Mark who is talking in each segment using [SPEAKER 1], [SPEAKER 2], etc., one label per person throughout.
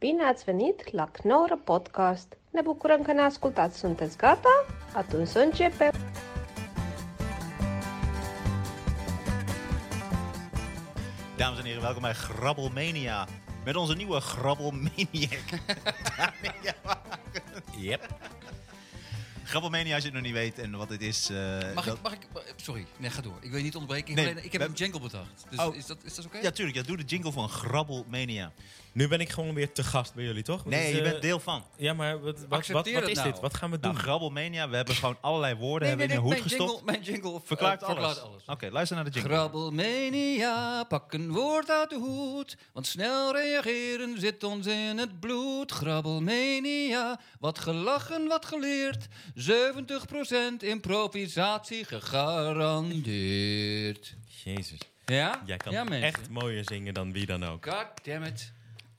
[SPEAKER 1] Bine ați venit la Knorr Podcast! Ne bucurăm că ne ascultați! Sunteți gata? Atunci să începem!
[SPEAKER 2] Dames en heren, welkom bij Grabbelmania. Met onze nieuwe Grabbelmaniac. Daniel Wagens.
[SPEAKER 3] Yep.
[SPEAKER 2] Grabbelmania, als je het nog niet weet en wat het is. eh,
[SPEAKER 3] Mag
[SPEAKER 2] dat-
[SPEAKER 3] ik, mag ik, eh, sorry, nee, ga door. Ik wil je niet onderbreken. Ik,
[SPEAKER 2] Nee,
[SPEAKER 3] alleen- ik heb
[SPEAKER 2] we-
[SPEAKER 3] een jingle bedacht. Dus
[SPEAKER 2] Oh.
[SPEAKER 3] is dat, is dat oké?
[SPEAKER 2] Ja, tuurlijk. Ja, doe de jingle van Grabbelmania.
[SPEAKER 4] Nu ben ik gewoon weer te gast bij jullie, toch? Want
[SPEAKER 2] Nee,
[SPEAKER 4] het,
[SPEAKER 2] je
[SPEAKER 4] eh,
[SPEAKER 2] bent deel van.
[SPEAKER 4] Ja, maar wat, wat, wat,
[SPEAKER 3] Accepteer
[SPEAKER 4] wat
[SPEAKER 3] het
[SPEAKER 4] is
[SPEAKER 3] nou.
[SPEAKER 4] dit? Wat gaan we doen?
[SPEAKER 2] Nou, Grabbelmania, we hebben gewoon allerlei woorden
[SPEAKER 3] nee, nee,
[SPEAKER 2] hebben we
[SPEAKER 3] nee,
[SPEAKER 2] in een hoed
[SPEAKER 3] mijn jingle,
[SPEAKER 2] gestopt.
[SPEAKER 3] mijn jingle eh,
[SPEAKER 2] Verklaart alles.
[SPEAKER 3] verklaart alles.
[SPEAKER 2] Oké, luister naar de jingle.
[SPEAKER 3] Grabbelmania, pak een woord uit de hoed. Want snel reageren zit ons in het bloed. Grabbelmania, wat gelachen, wat geleerd. 70% improvisatie gegarandeerd.
[SPEAKER 4] Jezus.
[SPEAKER 3] Ja?
[SPEAKER 4] Jij kan
[SPEAKER 3] ja, mensen.
[SPEAKER 4] echt mooier zingen dan wie dan ook.
[SPEAKER 3] God damn it.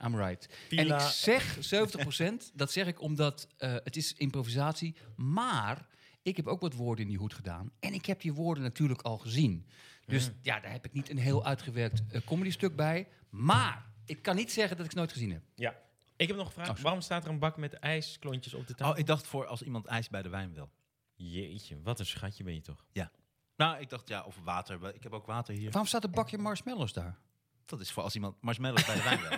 [SPEAKER 3] I'm right.
[SPEAKER 4] Pila.
[SPEAKER 3] En ik zeg 70%, dat zeg ik omdat eh, het is improvisatie. Maar ik heb ook wat woorden in die hoed gedaan. En ik heb die woorden natuurlijk al gezien. Dus
[SPEAKER 4] Hmm.
[SPEAKER 3] ja, daar heb ik niet een heel uitgewerkt eh, comedy stuk bij. Maar ik kan niet zeggen dat ik het nooit gezien heb.
[SPEAKER 4] Ja. Ik heb nog gevraagd,
[SPEAKER 3] Oh, sorry.
[SPEAKER 4] waarom staat er een bak met ijsklontjes op de tafel?
[SPEAKER 2] Oh, ik dacht voor als iemand ijs bij de wijn wil.
[SPEAKER 4] Jeetje, wat een schatje ben je toch?
[SPEAKER 2] Nou, ik dacht ja, of water. Ik heb ook water hier.
[SPEAKER 3] Waarom staat een bakje marshmallows daar?
[SPEAKER 2] Dat is voor als iemand marshmallows bij de wijn wil.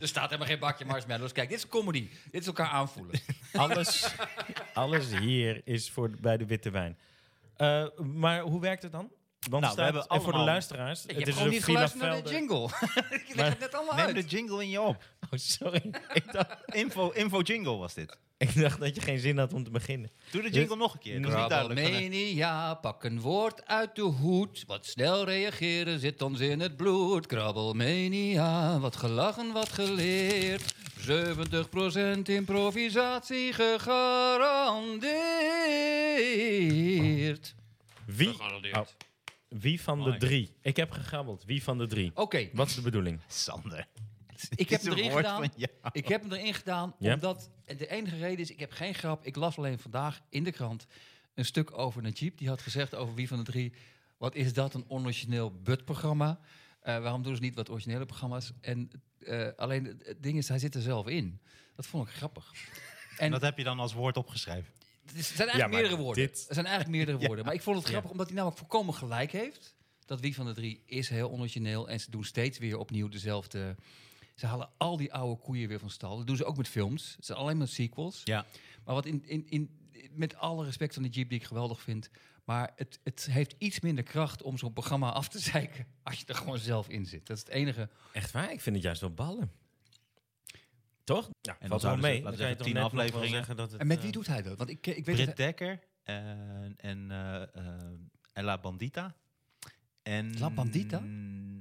[SPEAKER 3] Er staat helemaal geen bakje marshmallows. Kijk, dit is comedy. Dit is elkaar aanvoelen.
[SPEAKER 4] Alles, alles hier is voor bij de witte wijn. Eh, maar hoe werkt het dan?
[SPEAKER 3] Nou,
[SPEAKER 4] Want
[SPEAKER 2] we
[SPEAKER 4] staat-
[SPEAKER 2] hebben
[SPEAKER 4] en voor de
[SPEAKER 2] allemaal-
[SPEAKER 4] luisteraars,
[SPEAKER 3] Ik
[SPEAKER 4] het
[SPEAKER 3] heb
[SPEAKER 4] is
[SPEAKER 3] gewoon
[SPEAKER 4] een
[SPEAKER 3] niet
[SPEAKER 4] Villa
[SPEAKER 3] geluisterd naar de
[SPEAKER 4] Velder-
[SPEAKER 3] jingle. ik leg
[SPEAKER 4] Maar
[SPEAKER 3] het net allemaal
[SPEAKER 2] Neem de
[SPEAKER 3] uit.
[SPEAKER 2] jingle in je op.
[SPEAKER 4] Oh, sorry. ik, dacht,
[SPEAKER 2] Info, info jingle was dit.
[SPEAKER 4] ik dacht dat je geen zin had om te beginnen.
[SPEAKER 2] Doe de jingle nog een keer. Dat is niet duidelijk.
[SPEAKER 3] Krabbelmania, pak een woord uit de hoed. Wat snel reageren zit ons in het bloed. Krabbelmania, wat gelachen, wat geleerd. 70% improvisatie gegarandeerd.
[SPEAKER 4] Wie,
[SPEAKER 3] Gegarandeerd.
[SPEAKER 4] Oh, wie van de
[SPEAKER 2] Mooi.
[SPEAKER 4] drie? Oh, Ik heb gegrabbeld. Wie van de drie?
[SPEAKER 3] Oké,
[SPEAKER 4] Wat is de bedoeling?
[SPEAKER 2] Sander.
[SPEAKER 3] ik
[SPEAKER 2] Dit
[SPEAKER 3] heb
[SPEAKER 2] is
[SPEAKER 3] hem
[SPEAKER 2] een
[SPEAKER 3] erin
[SPEAKER 2] woord
[SPEAKER 3] gedaan.
[SPEAKER 2] van jou.
[SPEAKER 3] Ik heb hem erin gedaan
[SPEAKER 4] Ja.
[SPEAKER 3] omdat de enige reden is, ik heb geen grap. Ik las alleen vandaag in de krant een stuk over Najib. Die had gezegd over wie van de drie, wat is dat, een onorigineel butprogramma. Eh waarom doen ze niet wat originele programma's? En eh, alleen het- het ding is, hij zit er zelf in. Dat vond ik grappig. En
[SPEAKER 2] dat heb je dan als woord opgeschreven.
[SPEAKER 3] het is- het zijn
[SPEAKER 4] Ja,
[SPEAKER 3] eigenlijk
[SPEAKER 4] maar
[SPEAKER 3] meerdere woorden.
[SPEAKER 4] dit-
[SPEAKER 3] Er zijn eigenlijk meerdere woorden. Maar ik vond het grappig omdat hij namelijk volkomen gelijk heeft. Dat wie van de drie is heel onorigineel. En ze doen steeds weer opnieuw dezelfde. Ze halen al die oude koeien weer van stal. Dat doen ze ook met films. Het zijn alleen maar sequels.
[SPEAKER 2] Ja.
[SPEAKER 3] Maar wat in, in, in, met alle respect van de Jeep die ik geweldig vind. Maar het, het heeft iets minder kracht om zo'n programma af te zeiken. Als je er gewoon zelf in zit. Dat is het enige.
[SPEAKER 4] Echt waar? Ik vind het juist wel ballen. Toch? Ja,
[SPEAKER 2] dan
[SPEAKER 4] valt wel
[SPEAKER 2] zouden ze,
[SPEAKER 4] mee.
[SPEAKER 2] laten we
[SPEAKER 4] Dan kan je
[SPEAKER 2] zeggen,
[SPEAKER 4] toch
[SPEAKER 2] tien
[SPEAKER 4] net nog wel
[SPEAKER 2] afleveringen.
[SPEAKER 4] zeggen dat het,
[SPEAKER 3] En met
[SPEAKER 4] eh,
[SPEAKER 3] wie doet hij dat? Want ik, ik weet
[SPEAKER 2] Britt
[SPEAKER 3] het-
[SPEAKER 2] Dekker en, en eh, eh, Ella Bandita. En,
[SPEAKER 3] La Bandita?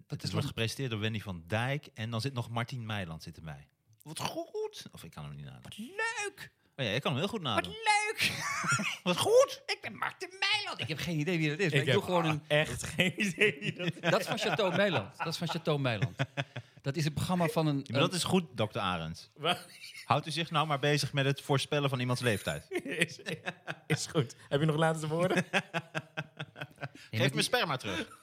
[SPEAKER 2] Dat
[SPEAKER 3] is
[SPEAKER 2] is wordt
[SPEAKER 3] dan-
[SPEAKER 2] gepresenteerd door Wendy van Dijk. En dan zit nog Martien Meiland zit erbij. Wat goed. Of ik kan hem niet nadenken.
[SPEAKER 3] Leuk!
[SPEAKER 2] Maar ja, ik kan hem heel goed
[SPEAKER 3] Wat
[SPEAKER 2] nadenken.
[SPEAKER 3] leuk!
[SPEAKER 2] Wat goed.
[SPEAKER 3] Ik ben Marten Meiland. Ik heb geen idee wie dat is.
[SPEAKER 4] Ik,
[SPEAKER 3] Maar ik,
[SPEAKER 4] heb ah,
[SPEAKER 3] doe gewoon een.
[SPEAKER 4] echt geen idee. wie dat-
[SPEAKER 3] Dat is van Chateau Meiland. Dat is van Chateau Meiland. Dat is een programma van een.
[SPEAKER 2] Ja, maar dat is goed, dokter Arends.
[SPEAKER 4] Waar-
[SPEAKER 2] Houdt u zich nou maar bezig met het voorspellen van iemands leeftijd.
[SPEAKER 4] is, is goed. Heb je nog laatste woorden?
[SPEAKER 3] Nee, maar
[SPEAKER 2] Geef
[SPEAKER 3] die-
[SPEAKER 2] me sperma terug.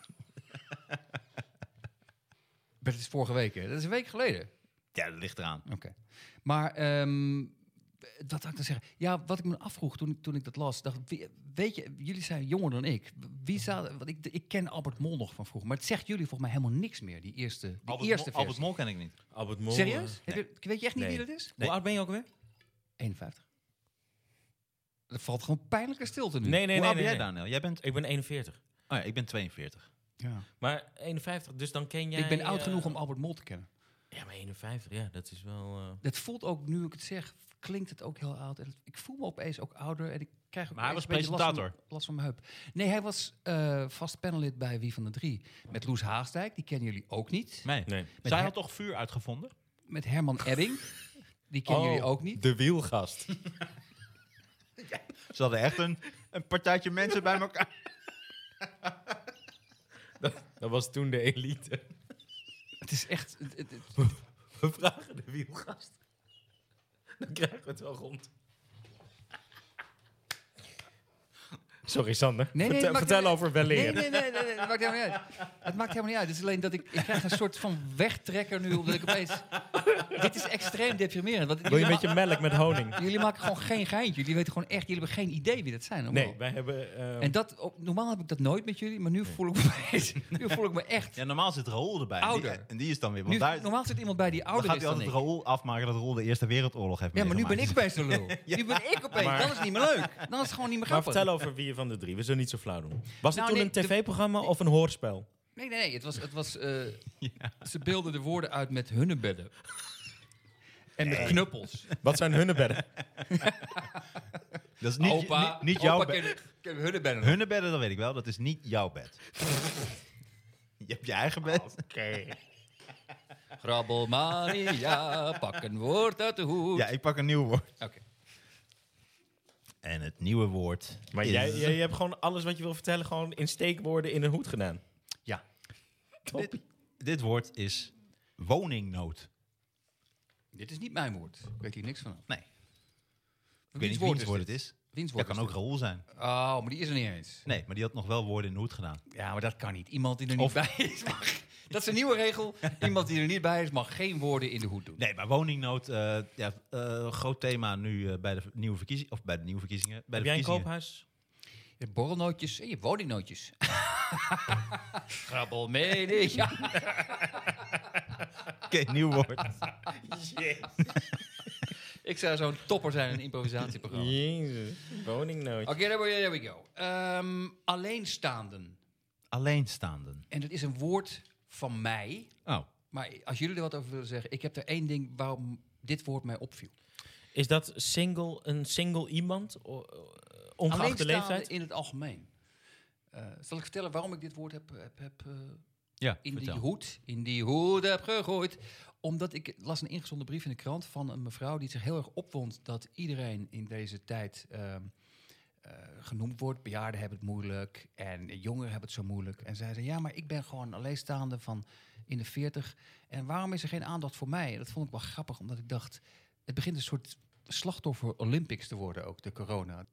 [SPEAKER 3] maar dat is vorige week. Hè? Dat is een week geleden.
[SPEAKER 2] Ja, dat ligt eraan.
[SPEAKER 3] Oké. Maar ehm wat had ik te zeggen? Ja, wat ik me afvroeg toen, ik- toen ik dat las, dacht, ik, wie- weet je, jullie zijn jonger dan ik. Wie zaten, want ik, ik ken Albert Mol nog van vroeger, maar het zegt jullie volgens mij helemaal niks meer, die eerste, die
[SPEAKER 2] Albert,
[SPEAKER 3] eerste
[SPEAKER 2] Mol, Albert
[SPEAKER 3] versie.
[SPEAKER 2] Mol ken ik niet.
[SPEAKER 4] Albert eh, Mol.
[SPEAKER 3] Serieus? Heb je, weet je echt niet
[SPEAKER 4] Nee.
[SPEAKER 3] wie dat is?
[SPEAKER 2] Nee.
[SPEAKER 4] oud ben je ook weer?
[SPEAKER 3] 51. Er valt gewoon pijnlijke stilte nu.
[SPEAKER 4] Nee, nee, nee.
[SPEAKER 2] Hm. Hoe oud ben
[SPEAKER 4] nee,
[SPEAKER 2] jij,
[SPEAKER 4] nee.
[SPEAKER 2] Daniel? Jij bent...
[SPEAKER 4] Ik ben 41.
[SPEAKER 2] Oh ja, ik ben 42.
[SPEAKER 3] Ja.
[SPEAKER 4] Maar 51, dus dan ken jij...
[SPEAKER 3] ik ben oud
[SPEAKER 4] eh,
[SPEAKER 3] genoeg om Albert Mol te kennen.
[SPEAKER 4] Ja, maar 51, ja, dat is wel... eh,
[SPEAKER 3] Dat voelt ook, nu ik het zeg, klinkt het ook heel oud. En het- ik voel me opeens ook ouder en ik krijg ook
[SPEAKER 2] Maar hij
[SPEAKER 3] opeens
[SPEAKER 2] was
[SPEAKER 3] een beetje last van-
[SPEAKER 2] presentator.
[SPEAKER 3] Last van mijn heup. Nee, hij was eh, vast panelid bij Wie van de Drie. Met Loes Haasdijk, die kennen jullie ook niet.
[SPEAKER 2] Nee.
[SPEAKER 4] Nee.
[SPEAKER 2] Zij
[SPEAKER 3] Her-
[SPEAKER 2] had toch vuur uitgevonden?
[SPEAKER 3] Met Herman Ebbing, die kennen jullie ook niet.
[SPEAKER 4] Oh, De wielgast.
[SPEAKER 2] Ze hadden echt een, een partijtje mensen bij elkaar.
[SPEAKER 4] dat, dat was toen de elite.
[SPEAKER 3] Het is echt... het- het- het-
[SPEAKER 4] We vragen de wielgast. Dan krijgen we het wel rond. Sorry, Sander.
[SPEAKER 3] Nee, nee,
[SPEAKER 4] vertel
[SPEAKER 3] maakt
[SPEAKER 4] vertel
[SPEAKER 3] niet-
[SPEAKER 4] over welleren.
[SPEAKER 3] Nee, nee, nee, nee, nee, dat maakt helemaal niet uit. Het maakt helemaal niet uit. Het is alleen dat ik, ik krijg een soort van wegtrekker nu, omdat ik opeens... dit is extreem deprimerend. Want
[SPEAKER 4] Wil je
[SPEAKER 3] jullie,
[SPEAKER 4] een beetje melk met honing?
[SPEAKER 3] ma- jullie maken gewoon geen geintje. Jullie weten gewoon echt, jullie hebben geen idee wie dat zijn. allemaal.
[SPEAKER 4] Nee, wij hebben... eh,
[SPEAKER 3] En dat, op- normaal heb ik dat nooit met jullie, maar nu voel ik me, opeens- nu voel ik me echt...
[SPEAKER 2] Ja, normaal zit Raoul erbij. En die-
[SPEAKER 3] Ouder.
[SPEAKER 2] En die is dan weer. Want
[SPEAKER 3] Nu,
[SPEAKER 2] daar,
[SPEAKER 3] normaal zit iemand bij die
[SPEAKER 2] dan
[SPEAKER 3] ouder
[SPEAKER 2] gaat
[SPEAKER 3] is
[SPEAKER 2] hij
[SPEAKER 3] dan
[SPEAKER 2] altijd
[SPEAKER 3] ik.
[SPEAKER 2] Raoul afmaken dat Raoul de Eerste Wereldoorlog heeft
[SPEAKER 3] Ja, maar nu ben ik
[SPEAKER 2] meegemaakt.
[SPEAKER 3] bij zo'n lul. Nu ben ik opeens.
[SPEAKER 4] Maar-
[SPEAKER 3] Dan is het niet meer leuk. Dan is het gewoon niet meer
[SPEAKER 4] maar
[SPEAKER 3] grappig.
[SPEAKER 4] vertel over wie je van de drie. We zullen niet zo flauw doen. Was het
[SPEAKER 3] Nou,
[SPEAKER 4] toen
[SPEAKER 3] nee, de-
[SPEAKER 4] een tv-programma of een hoorspel?
[SPEAKER 3] Nee, nee, nee. Het was, het was, eh, Ze beelden de woorden uit met hunnebedden. En met knuppels.
[SPEAKER 4] Wat zijn hun bedden?
[SPEAKER 2] Dat is niet,
[SPEAKER 3] opa,
[SPEAKER 2] niet, niet
[SPEAKER 3] opa
[SPEAKER 2] jouw bed.
[SPEAKER 3] ken, ken hunnebedden. nog.
[SPEAKER 2] Hunne bedden, dat weet ik wel. Dat is niet jouw bed. je hebt je eigen bed.
[SPEAKER 3] Nou, Grabbelmania, pak een woord uit de hoed.
[SPEAKER 2] Ja, ik pak een nieuw woord.
[SPEAKER 3] Oké.
[SPEAKER 2] En het nieuwe woord
[SPEAKER 4] Maar
[SPEAKER 2] is...
[SPEAKER 4] jij, jij, jij hebt gewoon alles wat je wil vertellen... gewoon in steekwoorden in een hoed gedaan.
[SPEAKER 2] Ja.
[SPEAKER 4] Top.
[SPEAKER 2] Dit, dit woord is woningnood.
[SPEAKER 3] Dit is niet mijn woord. Ik weet hier niks van.
[SPEAKER 2] Nee. Ik weet
[SPEAKER 3] Wiens
[SPEAKER 2] niet
[SPEAKER 3] woord
[SPEAKER 2] wiens
[SPEAKER 3] is
[SPEAKER 2] woord
[SPEAKER 3] dit?
[SPEAKER 2] het is.
[SPEAKER 3] Wiens
[SPEAKER 2] Dat
[SPEAKER 3] woord
[SPEAKER 2] kan
[SPEAKER 3] is
[SPEAKER 2] ook
[SPEAKER 3] dit?
[SPEAKER 2] Raoul zijn.
[SPEAKER 3] Oh, maar die is er niet eens.
[SPEAKER 2] Nee, maar die had nog wel woorden in de hoed gedaan.
[SPEAKER 3] Ja, maar dat kan niet. Iemand die er niet
[SPEAKER 2] Of-
[SPEAKER 3] bij is mag... Dat is een nieuwe regel. Iemand die er niet bij is mag geen woorden in de hoed doen.
[SPEAKER 2] Nee, maar woningnood, eh, ja, eh, groot thema nu eh, bij de v- nieuwe verkiezingen. Of bij de nieuwe verkiezingen. Bij de
[SPEAKER 4] Heb jij een
[SPEAKER 2] verkiezingen.
[SPEAKER 4] koophuis?
[SPEAKER 3] Je hebt borrelnootjes en je hebt woningnootjes. Grabbel mee, ja.
[SPEAKER 2] Oké, nieuw woord.
[SPEAKER 3] Ik zou zo'n topper zijn in een improvisatieprogramma.
[SPEAKER 4] Jezus, woningnood.
[SPEAKER 3] Oké, there, we- there we go. Ehm, alleenstaanden.
[SPEAKER 2] Alleenstaanden.
[SPEAKER 3] En dat is een woord van mij.
[SPEAKER 2] Oh,
[SPEAKER 3] Maar als jullie er wat over willen zeggen, ik heb er één ding waarom dit woord mij opviel.
[SPEAKER 4] Is dat single, een single iemand? O- o- Ongeacht de leeftijd?
[SPEAKER 3] in het algemeen. Eh, zal ik vertellen waarom ik dit woord heb, heb, heb eh,
[SPEAKER 2] ja,
[SPEAKER 3] in
[SPEAKER 2] vertel.
[SPEAKER 3] die hoed, in die hoed heb gegooid. Omdat ik las een ingezonden brief in de krant van een mevrouw die zich heel erg opwond dat iedereen in deze tijd ehm, eh, genoemd wordt. Bejaarden hebben het moeilijk en jongeren hebben het zo moeilijk. En zij zei, ja, maar ik ben gewoon alleenstaande van in de 40. En waarom is er geen aandacht voor mij? En dat vond ik wel grappig, omdat ik dacht, het begint een soort slachtoffer Olympics te worden ook, de corona.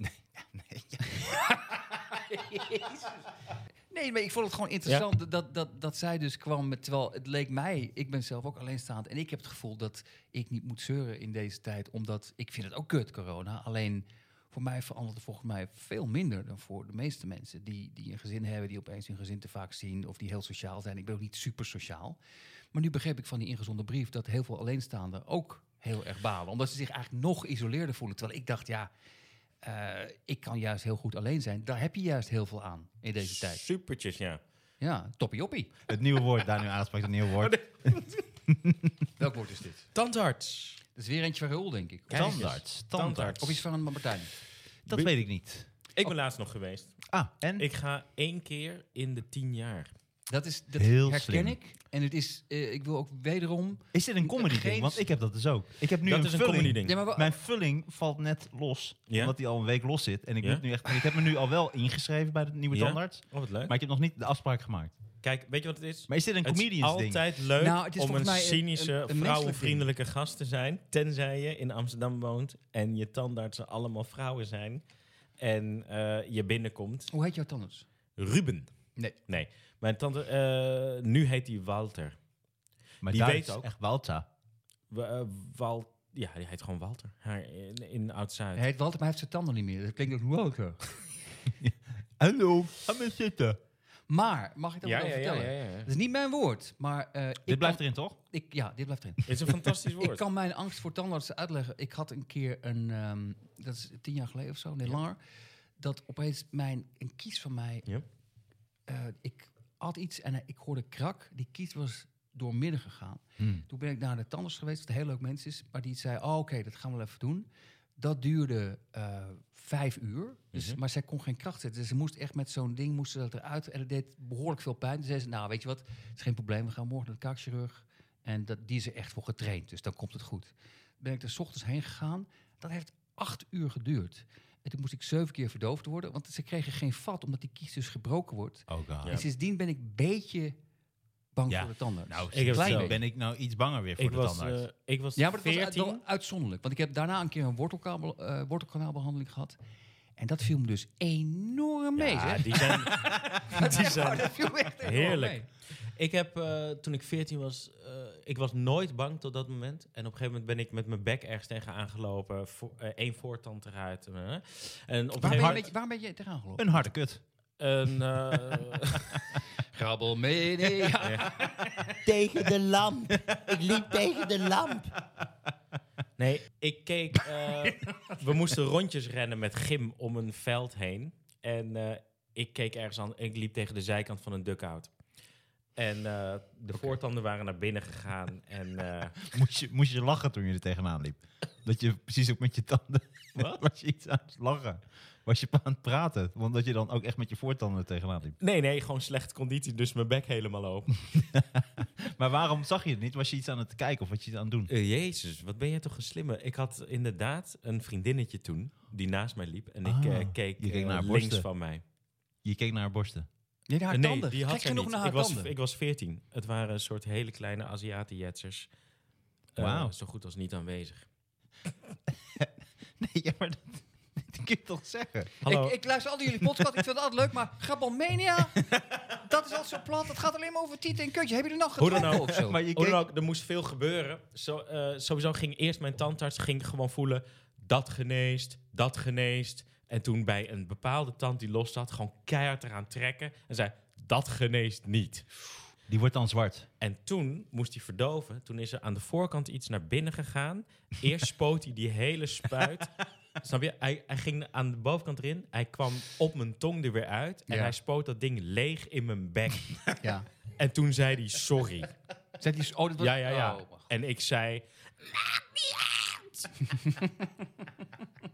[SPEAKER 3] Nee, maar ik vond het gewoon interessant dat, dat, dat zij dus kwam met... Terwijl het leek mij, ik ben zelf ook alleenstaand... en ik heb het gevoel dat ik niet moet zeuren in deze tijd... omdat ik vind het ook kut, corona. Alleen voor mij verandert het volgens mij veel minder dan voor de meeste mensen... die, die een gezin hebben, die opeens hun gezin te vaak zien... of die heel sociaal zijn. Ik ben ook niet super sociaal. Maar nu begreep ik van die ingezonde brief... dat heel veel alleenstaanden ook heel erg balen. Omdat ze zich eigenlijk nog isoleerder voelen. Terwijl ik dacht, ja... eh, ik kan juist heel goed alleen zijn. Daar heb je juist heel veel aan in deze tijd.
[SPEAKER 4] Supertjes, ja.
[SPEAKER 3] Ja, toppie-oppie.
[SPEAKER 2] Het nieuwe woord, daar nu aanspreekt, het nieuwe
[SPEAKER 4] Oh,
[SPEAKER 2] woord.
[SPEAKER 3] Welk woord is dit?
[SPEAKER 4] Tandarts.
[SPEAKER 3] Dat is weer eentje van Rul, denk ik. Of
[SPEAKER 4] Kijk eens.
[SPEAKER 2] Tandarts.
[SPEAKER 4] Tandarts.
[SPEAKER 2] Tandarts.
[SPEAKER 3] Of iets van een Martijn.
[SPEAKER 2] Dat weet ik niet.
[SPEAKER 4] Ik ben laatst nog geweest.
[SPEAKER 2] Ah, en?
[SPEAKER 4] Ik ga één keer in de tien jaar.
[SPEAKER 3] Dat, is, dat
[SPEAKER 2] Heel
[SPEAKER 3] herken
[SPEAKER 2] slim.
[SPEAKER 3] ik. En het is, eh, ik wil ook wederom...
[SPEAKER 2] Is dit een comedy
[SPEAKER 3] Geen-
[SPEAKER 2] ding? Want ik heb dat dus ook. Ik heb nu
[SPEAKER 4] dat
[SPEAKER 2] een
[SPEAKER 4] is een
[SPEAKER 2] vulling.
[SPEAKER 4] comedy ding.
[SPEAKER 3] Ja, maar wa-
[SPEAKER 2] Mijn vulling valt net los,
[SPEAKER 4] Ja?
[SPEAKER 2] omdat die al een week los zit. En ik,
[SPEAKER 4] Ja?
[SPEAKER 2] moet nu echt, ik heb me nu al wel ingeschreven bij de nieuwe
[SPEAKER 4] Ja?
[SPEAKER 2] tandarts.
[SPEAKER 4] Oh, wat leuk.
[SPEAKER 2] Maar ik heb nog niet de afspraak gemaakt.
[SPEAKER 4] Kijk, weet je wat het is?
[SPEAKER 2] Maar is dit een
[SPEAKER 4] Het is
[SPEAKER 2] comedians ding?
[SPEAKER 4] altijd leuk
[SPEAKER 3] Nou, het is
[SPEAKER 4] om een
[SPEAKER 3] volgens mij een-
[SPEAKER 4] cynische,
[SPEAKER 3] een- een menselijk
[SPEAKER 4] vrouwenvriendelijke gast te zijn. Tenzij je in Amsterdam woont en je tandartsen allemaal vrouwen zijn. En eh, je binnenkomt.
[SPEAKER 3] Hoe heet jouw tandarts?
[SPEAKER 4] Ruben.
[SPEAKER 3] Nee.
[SPEAKER 4] Nee. Mijn tante, eh, nu heet hij Walter.
[SPEAKER 2] Maar
[SPEAKER 4] Die
[SPEAKER 2] daar
[SPEAKER 4] weet
[SPEAKER 2] is
[SPEAKER 4] ook.
[SPEAKER 2] echt Walter.
[SPEAKER 4] W- eh, Wal ja, hij heet gewoon Walter. Haar in, in Oud-Zuid.
[SPEAKER 3] Hij heet Walter, maar hij heeft zijn tanden niet meer. Dat klinkt als Walter.
[SPEAKER 2] Hallo, ga maar zitten.
[SPEAKER 3] Maar, mag ik dat
[SPEAKER 4] ja,
[SPEAKER 3] wel
[SPEAKER 4] ja, ja,
[SPEAKER 3] vertellen?
[SPEAKER 4] ja, ja.
[SPEAKER 3] Dat is niet mijn woord, maar... eh, ik
[SPEAKER 2] Dit blijft
[SPEAKER 3] kan-
[SPEAKER 2] erin, toch?
[SPEAKER 3] Ik, ja, dit blijft erin.
[SPEAKER 4] Het is een fantastisch woord.
[SPEAKER 3] Ik kan mijn angst voor tandartsen uitleggen. Ik had een keer een, ehm, dat is tien jaar geleden of zo, nee langer, dat opeens mijn, een kies van mij,
[SPEAKER 4] Ja.
[SPEAKER 3] eh, ik had iets en eh, ik hoorde krak, die kies was doormidden gegaan. Toen ben ik naar de tandarts geweest, wat een heel leuk mens is, maar die zei, oh, oké, dat gaan we wel even doen. Dat duurde eh, vijf uur, dus,
[SPEAKER 2] Mhm.
[SPEAKER 3] maar zij kon geen kracht zetten. Dus ze moest echt met zo'n ding moest ze dat eruit en het deed behoorlijk veel pijn. Toen zei ze, nou weet je wat, het is geen probleem, we gaan morgen naar de kaakchirurg. En dat, die is er echt voor getraind, dus dan komt het goed. Ben ik er 's ochtends heen gegaan. Dat heeft acht uur geduurd. En toen moest ik zeven keer verdoofd worden, want ze kregen geen vat omdat die kies dus gebroken wordt.
[SPEAKER 2] Oh god.
[SPEAKER 4] Ja.
[SPEAKER 3] En sindsdien ben ik een beetje bang
[SPEAKER 2] Ja.
[SPEAKER 3] voor de tandarts.
[SPEAKER 2] Nou,
[SPEAKER 4] heb
[SPEAKER 2] klein
[SPEAKER 4] hetzelfde.
[SPEAKER 2] ben ik nou iets banger weer voor
[SPEAKER 4] Ik
[SPEAKER 2] de
[SPEAKER 4] was,
[SPEAKER 2] tandarts.
[SPEAKER 4] eh, ik was
[SPEAKER 3] ja, maar dat was
[SPEAKER 4] 14.
[SPEAKER 3] uit- wel uitzonderlijk, want ik heb daarna een keer een wortelkabel, eh, wortelkanaalbehandeling gehad. En dat viel me dus enorm mee.
[SPEAKER 5] Ja,
[SPEAKER 3] zeg.
[SPEAKER 5] die zijn, die
[SPEAKER 3] Oh,
[SPEAKER 5] zijn
[SPEAKER 3] dat viel me echt enorm
[SPEAKER 5] Heerlijk.
[SPEAKER 3] mee.
[SPEAKER 5] Ik heb, eh, toen ik 14 was, eh, ik was nooit bang tot dat moment. En op een gegeven moment ben ik met mijn bek ergens tegen aangelopen. Voor, eh, één voortand eruit. eh. en op een
[SPEAKER 3] Waar ben,
[SPEAKER 5] gegeven
[SPEAKER 3] je,
[SPEAKER 5] moment...
[SPEAKER 3] met- waar ben je tegenaan gelopen?
[SPEAKER 2] Een harde kut.
[SPEAKER 5] Een, eh,
[SPEAKER 3] Grabbelmania.
[SPEAKER 6] Tegen de lamp. Ik liep tegen de lamp.
[SPEAKER 5] nee, ik keek... eh, we moesten rondjes rennen met gym om een veld heen. En eh, ik keek ergens aan. Ik liep tegen de zijkant van een duckout. En eh, de voortanden waren naar binnen gegaan. En... eh,
[SPEAKER 2] Moest je, moest je lachen toen je er tegenaan liep? Dat je precies ook met je tanden...
[SPEAKER 5] Wat?
[SPEAKER 2] Was je iets aan het lachen? Was je aan het praten? Want dat je dan ook echt met je voortanden er tegenaan liep.
[SPEAKER 5] Nee, nee, gewoon slechte conditie, dus mijn bek helemaal open.
[SPEAKER 2] Maar waarom zag je het niet? Was je iets aan het kijken of was je iets aan het doen?
[SPEAKER 5] Eh, Jezus, wat ben jij toch een slimme. Ik had inderdaad een vriendinnetje toen, die naast mij liep. En ik
[SPEAKER 2] Ah,
[SPEAKER 5] eh, keek,
[SPEAKER 2] je keek
[SPEAKER 5] eh,
[SPEAKER 2] naar haar
[SPEAKER 5] links
[SPEAKER 2] borsten.
[SPEAKER 5] van mij.
[SPEAKER 2] Je keek naar haar borsten.
[SPEAKER 3] Nee, naar haar
[SPEAKER 5] Eh,
[SPEAKER 3] tanden.
[SPEAKER 5] die had
[SPEAKER 3] Kijk
[SPEAKER 5] zij
[SPEAKER 3] genoeg
[SPEAKER 5] niet.
[SPEAKER 3] naar haar
[SPEAKER 5] ik, was,
[SPEAKER 3] tanden.
[SPEAKER 5] ik was veertien. Het waren een soort hele kleine Aziatenjetsers. Eh,
[SPEAKER 2] Wauw.
[SPEAKER 5] Zo goed als niet aanwezig.
[SPEAKER 2] Nee, ja, maar dat, dat kun je toch zeggen?
[SPEAKER 5] Hallo.
[SPEAKER 3] Ik, ik luister altijd jullie podcast, ik vind het altijd leuk, maar Grabbelmania, dat is altijd zo plat. Het gaat alleen maar over tieten en kutje. Hebben jullie nog
[SPEAKER 5] Hoe dan
[SPEAKER 3] getrokken
[SPEAKER 5] ook.
[SPEAKER 3] of zo?
[SPEAKER 2] Maar je
[SPEAKER 5] Hoe
[SPEAKER 2] keek...
[SPEAKER 5] dan ook, er moest veel gebeuren. Zo, eh, sowieso ging eerst mijn tandarts ging gewoon voelen... dat geneest, dat geneest. En toen bij een bepaalde tand die los zat... gewoon keihard eraan trekken. En zei, dat geneest niet.
[SPEAKER 2] Die wordt dan zwart.
[SPEAKER 5] En toen moest hij verdoven. Toen is er aan de voorkant iets naar binnen gegaan. Eerst spoot hij die hele spuit. Snap je? Hij, hij ging aan de bovenkant erin. Hij kwam op mijn tong er weer uit. En
[SPEAKER 3] Ja.
[SPEAKER 5] hij spoot dat ding leeg in mijn bek.
[SPEAKER 3] ja.
[SPEAKER 5] en toen zei hij sorry.
[SPEAKER 3] Zet die, oh, dat was-
[SPEAKER 5] Ja, ja, ja.
[SPEAKER 3] oh, wacht.
[SPEAKER 5] En ik zei... Maak me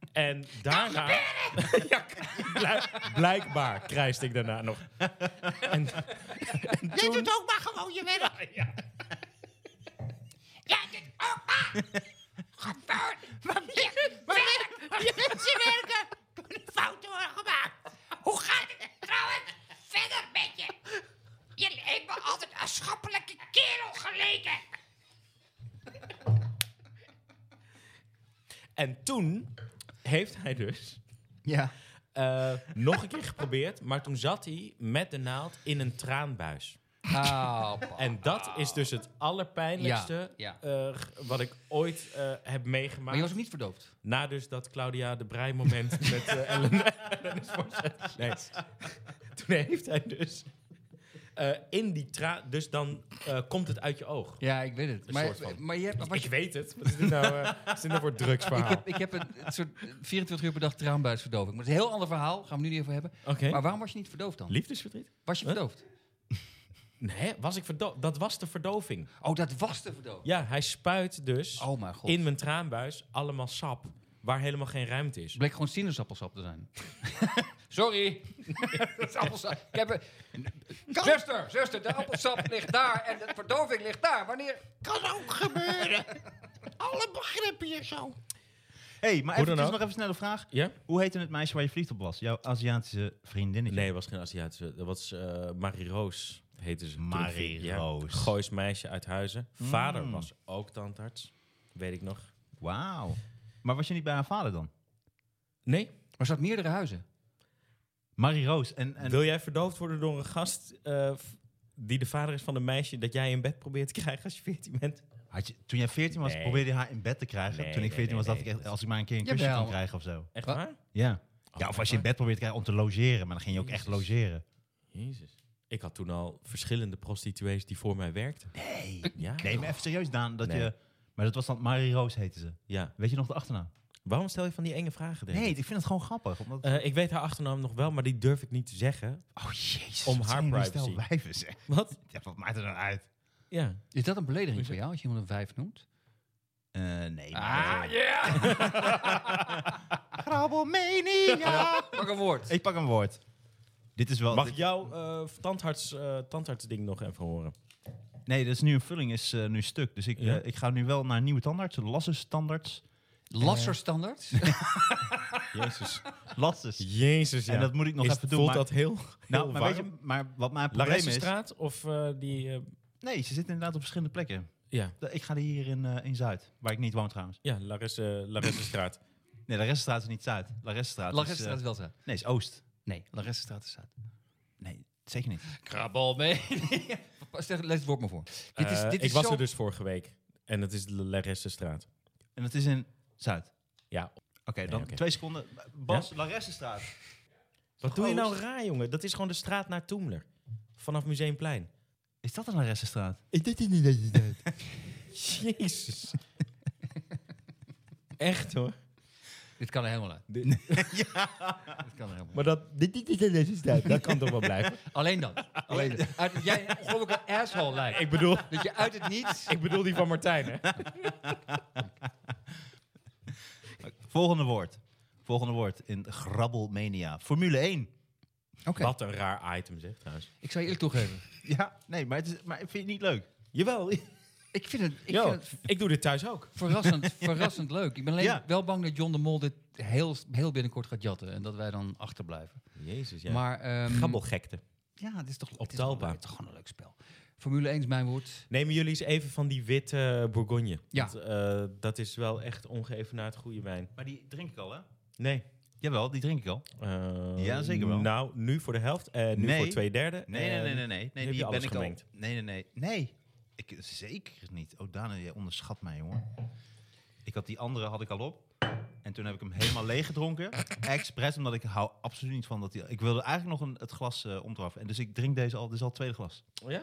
[SPEAKER 5] uit! en daarna... Ja, blijk- blijkbaar krijst ik daarna nog. En, en
[SPEAKER 6] Je
[SPEAKER 5] toen-
[SPEAKER 6] doet ook maar gewoon je werk. Jij doet ook maar gewoon je werk. Je mensen werken. Kunnen fouten worden gemaakt. Hoe gaat het trouwens verder met je? Je heeft me altijd een schappelijke kerel geleken.
[SPEAKER 5] En toen heeft hij dus
[SPEAKER 3] ja.
[SPEAKER 5] eh, nog een keer geprobeerd, maar toen zat hij met de naald in een traanbuis.
[SPEAKER 3] Ah, pa.
[SPEAKER 5] En dat is dus het allerpijnlijkste
[SPEAKER 3] Ja,
[SPEAKER 5] eh, g- wat ik ooit eh, heb
[SPEAKER 3] maar
[SPEAKER 5] meegemaakt.
[SPEAKER 3] je was ook niet verdoopt.
[SPEAKER 5] Na dus dat Claudia de Breij moment met eh Ellen. Ellen is voorzet. nee. Toen heeft hij dus eh, in die traan, dus dan eh, komt het uit je oog.
[SPEAKER 3] Ja, ik weet het.
[SPEAKER 5] Een
[SPEAKER 3] Maar,
[SPEAKER 5] soort van.
[SPEAKER 3] maar je hebt... wat
[SPEAKER 5] Ik
[SPEAKER 3] je-
[SPEAKER 5] weet het. Wat is dit nou, eh, wat is dit nou voor
[SPEAKER 3] ik
[SPEAKER 5] drugsverhaal?
[SPEAKER 3] heb, ik heb een, een soort 24 uur per dag traanbuisverdoving. Maar het is een heel ander verhaal. Gaan we nu niet over hebben.
[SPEAKER 5] Oké.
[SPEAKER 3] Maar waarom was je niet verdoofd dan?
[SPEAKER 5] Liefdesverdriet?
[SPEAKER 3] Was je
[SPEAKER 5] Huh?
[SPEAKER 3] verdoofd?
[SPEAKER 5] Nee, was ik verdoofd? Dat was de verdoving.
[SPEAKER 3] Oh, dat was de verdoofd.
[SPEAKER 5] Ja, hij spuit dus
[SPEAKER 3] Oh mijn god.
[SPEAKER 5] in mijn traanbuis allemaal sap waar helemaal geen ruimte is.
[SPEAKER 3] Het bleek gewoon sinaasappelsap te zijn. Sorry. dat is appelsap. Ik heb een... Zuster, zuster, de appelsap ligt daar en de verdoving ligt daar. Wanneer...
[SPEAKER 6] Kan ook gebeuren. Alle begrippen hier zo.
[SPEAKER 2] Hé, hey, maar
[SPEAKER 5] Hoe dan
[SPEAKER 2] even, nog
[SPEAKER 5] ook.
[SPEAKER 2] even een snelle vraag.
[SPEAKER 5] Ja?
[SPEAKER 2] Hoe heette het meisje waar je verliefd op was? Jouw Aziatische vriendinnetje.
[SPEAKER 5] Nee, het was geen Aziatische. Dat was eh, Marie Roos, heette ze.
[SPEAKER 2] Marie Mm.
[SPEAKER 5] Toen ik- ja,
[SPEAKER 2] Roos.
[SPEAKER 5] Goois meisje uit Huizen. Vader was ook tandarts, weet ik nog.
[SPEAKER 2] Wauw. Maar was je niet bij haar vader dan?
[SPEAKER 5] Nee,
[SPEAKER 3] Maar zat meerdere huizen.
[SPEAKER 2] Marie Roos. En, en
[SPEAKER 5] wil jij verdoofd worden door een gast eh, f- die de vader is van een meisje dat jij in bed probeert te krijgen als je 14 bent?
[SPEAKER 2] had je, toen jij 14 was,
[SPEAKER 5] Nee.
[SPEAKER 2] probeerde je haar in bed te krijgen.
[SPEAKER 5] Nee,
[SPEAKER 2] toen ik
[SPEAKER 5] nee,
[SPEAKER 2] 14 was,
[SPEAKER 5] nee,
[SPEAKER 2] dacht
[SPEAKER 5] nee.
[SPEAKER 2] ik echt, als ik maar een keer een kusje
[SPEAKER 3] Jawel.
[SPEAKER 2] kan krijgen of zo.
[SPEAKER 5] Echt
[SPEAKER 3] Wat?
[SPEAKER 5] waar?
[SPEAKER 2] Ja. ja,
[SPEAKER 5] echt
[SPEAKER 2] of als je in
[SPEAKER 5] waar?
[SPEAKER 2] bed probeert te krijgen om te logeren. Maar dan ging je ook echt
[SPEAKER 5] Oh, Jezus.
[SPEAKER 2] logeren.
[SPEAKER 5] Jezus. Ik had toen al verschillende prostituees die voor mij werkten. Nee. Ja.
[SPEAKER 2] Nee, maar even serieus, Daan. Dat
[SPEAKER 5] Nee.
[SPEAKER 2] je, maar dat was dan Marie Roos heette ze.
[SPEAKER 5] ja.
[SPEAKER 2] Weet je nog de achternaam?
[SPEAKER 5] Waarom stel je van die enge vragen? David?
[SPEAKER 2] Nee, ik vind het gewoon grappig. Omdat,
[SPEAKER 5] Eh, ik weet haar achternaam nog wel, maar die durf ik niet te zeggen.
[SPEAKER 2] oh jezus.
[SPEAKER 5] om
[SPEAKER 2] wat
[SPEAKER 5] haar
[SPEAKER 2] zijn jullie
[SPEAKER 5] privacy.
[SPEAKER 2] Stel wijven zeg.
[SPEAKER 5] Wat?
[SPEAKER 2] Ja, wat maakt er dan uit?
[SPEAKER 5] Ja.
[SPEAKER 3] Is dat een belediging voor jou als je iemand een vijf noemt?
[SPEAKER 2] Eh, nee. maar-
[SPEAKER 3] Ah, ja!
[SPEAKER 2] Grabbelmania!
[SPEAKER 3] Pak een woord.
[SPEAKER 2] ik pak een woord. Dit is wel...
[SPEAKER 5] Mag
[SPEAKER 2] dit-
[SPEAKER 5] ik jouw eh tandarts, eh, tandartsding nog even horen?
[SPEAKER 2] Nee, dat is nu een vulling, is eh, nu stuk. Dus ik,
[SPEAKER 5] Ja.
[SPEAKER 2] eh, ik ga nu wel naar nieuwe tandartsen. Lasses tandarts.
[SPEAKER 3] Lasserstandaard.
[SPEAKER 5] Jezus.
[SPEAKER 2] Lasses.
[SPEAKER 5] Jezus, ja.
[SPEAKER 2] En dat moet ik nog
[SPEAKER 5] Is-
[SPEAKER 2] even doen.
[SPEAKER 5] Voelt
[SPEAKER 2] maar-
[SPEAKER 5] dat heel,
[SPEAKER 2] nou,
[SPEAKER 5] heel
[SPEAKER 2] maar,
[SPEAKER 5] warm?
[SPEAKER 2] weet je, maar wat mijn probleem is...
[SPEAKER 5] Laressenstraat of eh, die... eh,
[SPEAKER 2] Nee, ze zitten inderdaad op verschillende plekken.
[SPEAKER 5] ja,
[SPEAKER 2] Ik ga er hier in, eh, in Zuid, waar ik niet woon trouwens.
[SPEAKER 5] ja Laresse, Laressenstraat.
[SPEAKER 2] Nee, de Reststraat is niet Zuid. La Reststraat is...
[SPEAKER 3] Lagesstraat is
[SPEAKER 2] eh,
[SPEAKER 3] wel Zuid.
[SPEAKER 2] nee, is Oost.
[SPEAKER 3] Nee, Lagesstraat is Zuid.
[SPEAKER 2] Nee, zeker niet.
[SPEAKER 3] Krabbel mee. zeg, lees het woord maar voor. dit is,
[SPEAKER 4] Eh,
[SPEAKER 3] dit
[SPEAKER 4] ik
[SPEAKER 3] is
[SPEAKER 4] was
[SPEAKER 3] zo-
[SPEAKER 4] er dus vorige week. En dat is de Lerressenstraat.
[SPEAKER 2] En dat is in Zuid. Oké,
[SPEAKER 4] Ja.
[SPEAKER 2] dan
[SPEAKER 4] Nee, oké.
[SPEAKER 2] twee seconden. Bas, La Reststraat.
[SPEAKER 4] Wat doe je nou
[SPEAKER 2] Oost.
[SPEAKER 4] raar, jongen? Dat is gewoon de straat naar Toemler. Vanaf Museumplein.
[SPEAKER 2] Is dat een La Reststraat?
[SPEAKER 4] Ik dit niet dat je dat. Jezus. Echt hoor.
[SPEAKER 3] Dit kan er helemaal uit.
[SPEAKER 4] Dit-
[SPEAKER 3] Dit kan er helemaal
[SPEAKER 4] Maar dat dit niet in deze tijd, dat kan toch wel blijven.
[SPEAKER 3] uit. Alleen dat. Alleen dat. Uit, jij een ongelooflijke asshole lijkt.
[SPEAKER 4] Ik bedoel,
[SPEAKER 3] Dat je uit het niets...
[SPEAKER 4] ik bedoel die van Martijn, hè?
[SPEAKER 2] Volgende woord. Volgende woord in Grabbelmania. Formule 1.
[SPEAKER 3] Oké.
[SPEAKER 4] Wat een raar item, zeg trouwens.
[SPEAKER 3] Ik zou je eerlijk toegeven.
[SPEAKER 2] Ja, nee, maar, het is, maar ik vind het niet leuk.
[SPEAKER 4] Jawel.
[SPEAKER 3] Ik vind het, ik
[SPEAKER 4] Yo,
[SPEAKER 3] vind het
[SPEAKER 4] ik doe dit thuis ook.
[SPEAKER 3] verrassend, verrassend leuk. Ik ben alleen
[SPEAKER 2] Ja.
[SPEAKER 3] wel bang dat John de Mol dit heel, heel binnenkort gaat jatten. En dat wij dan achterblijven.
[SPEAKER 4] Jezus, ja.
[SPEAKER 3] Maar... ehm,
[SPEAKER 4] Grabbelgekte.
[SPEAKER 3] Ja, het is toch, het is
[SPEAKER 4] Talpa.
[SPEAKER 3] gewoon leuk. Het is gewoon een leuk spel. Formule 1 is mijn woord.
[SPEAKER 4] Nemen jullie eens even van die witte eh, Bourgogne.
[SPEAKER 3] Ja.
[SPEAKER 4] Want, eh, dat is wel echt ongeëvenaard goede wijn.
[SPEAKER 2] Maar die drink ik al, hè?
[SPEAKER 4] Nee.
[SPEAKER 2] Jawel, die drink ik al.
[SPEAKER 4] Eh,
[SPEAKER 2] Ja, zeker wel.
[SPEAKER 4] Nou, nu voor de helft en nu
[SPEAKER 2] Nee.
[SPEAKER 4] voor twee Eh, derde.
[SPEAKER 2] Nee, nee,
[SPEAKER 4] En-
[SPEAKER 2] nee, nee, nee. nee
[SPEAKER 4] heb je
[SPEAKER 2] die
[SPEAKER 4] alles
[SPEAKER 2] ben ik
[SPEAKER 4] gemengd.
[SPEAKER 2] al. Nee, nee, nee. Nee. Ik, zeker niet. Oh, Dana, jij onderschat mij, jongen. Ik had die andere had ik al op. En toen heb ik hem helemaal leeg gedronken. Expres, omdat ik hou absoluut niet van dat die... Ik wilde eigenlijk nog een, het glas eh omdraven. En dus ik drink deze al. Dit is al het tweede glas.
[SPEAKER 4] Oh ja?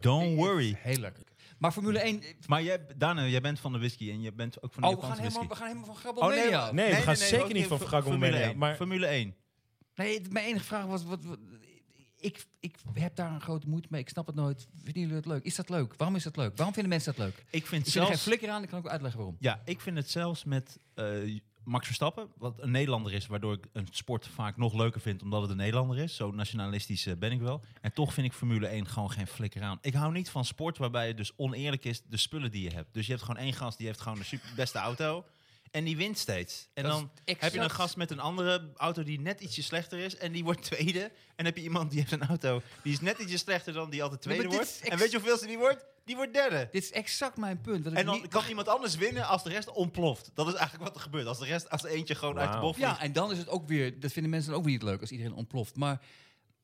[SPEAKER 2] Don't worry.
[SPEAKER 3] Heel lekker. Maar Formule 1... eh,
[SPEAKER 2] Maar jij, Dana, jij bent van de whisky. En je bent ook van de
[SPEAKER 3] Oh, we gaan,
[SPEAKER 2] Japanse
[SPEAKER 3] helemaal,
[SPEAKER 2] whisky.
[SPEAKER 3] we gaan helemaal van grabbel
[SPEAKER 2] Oh,
[SPEAKER 3] mee, ja.
[SPEAKER 2] maar-
[SPEAKER 4] Nee, we gaan zeker
[SPEAKER 2] ook
[SPEAKER 4] niet van Fraggle
[SPEAKER 2] Formule
[SPEAKER 4] Mania,
[SPEAKER 2] 1.
[SPEAKER 4] maar-
[SPEAKER 2] Formule 1.
[SPEAKER 3] Nee, het- mijn enige vraag was... Wat, wat- ik, ik heb daar een grote moeite mee. Ik snap het nooit. Vinden jullie het leuk? Is dat leuk? Waarom is dat leuk? Waarom vinden mensen dat leuk? Ik
[SPEAKER 2] Ik vind
[SPEAKER 3] vind er geen
[SPEAKER 2] zelfs...
[SPEAKER 3] flikker aan. Ik kan ook uitleggen waarom.
[SPEAKER 2] Ja, ik vind het zelfs met eh, Max Verstappen, wat een Nederlander is, waardoor ik een sport vaak nog leuker vind omdat het een Nederlander is. Zo nationalistisch eh, ben ik wel. En toch vind ik Formule 1 gewoon geen flikker aan. Ik hou niet van sport waarbij het dus oneerlijk is de spullen die je hebt. Dus je hebt gewoon één gast die heeft gewoon de super beste auto. En die wint steeds. En
[SPEAKER 3] Dat
[SPEAKER 2] dan
[SPEAKER 3] is exact-
[SPEAKER 2] heb je een gast met een andere auto die net ietsje slechter is. En die wordt tweede. En dan heb je iemand die heeft een auto die is net ietsje slechter dan die altijd
[SPEAKER 3] maar
[SPEAKER 2] tweede
[SPEAKER 3] dit
[SPEAKER 2] wordt.
[SPEAKER 3] is ex-
[SPEAKER 2] En weet je hoeveel ze die wordt? Die wordt derde.
[SPEAKER 3] Dit is exact mijn punt. Dat
[SPEAKER 4] Dus
[SPEAKER 3] ik
[SPEAKER 2] En dan
[SPEAKER 3] niet-
[SPEAKER 2] kan iemand anders winnen als de rest ontploft. Dat is eigenlijk wat er gebeurt. Als de rest, als er eentje gewoon uit de
[SPEAKER 4] Wauw.
[SPEAKER 2] bocht vliegt.
[SPEAKER 3] Ja, en dan is het ook weer, dat vinden mensen dan ook weer niet leuk als iedereen ontploft. Maar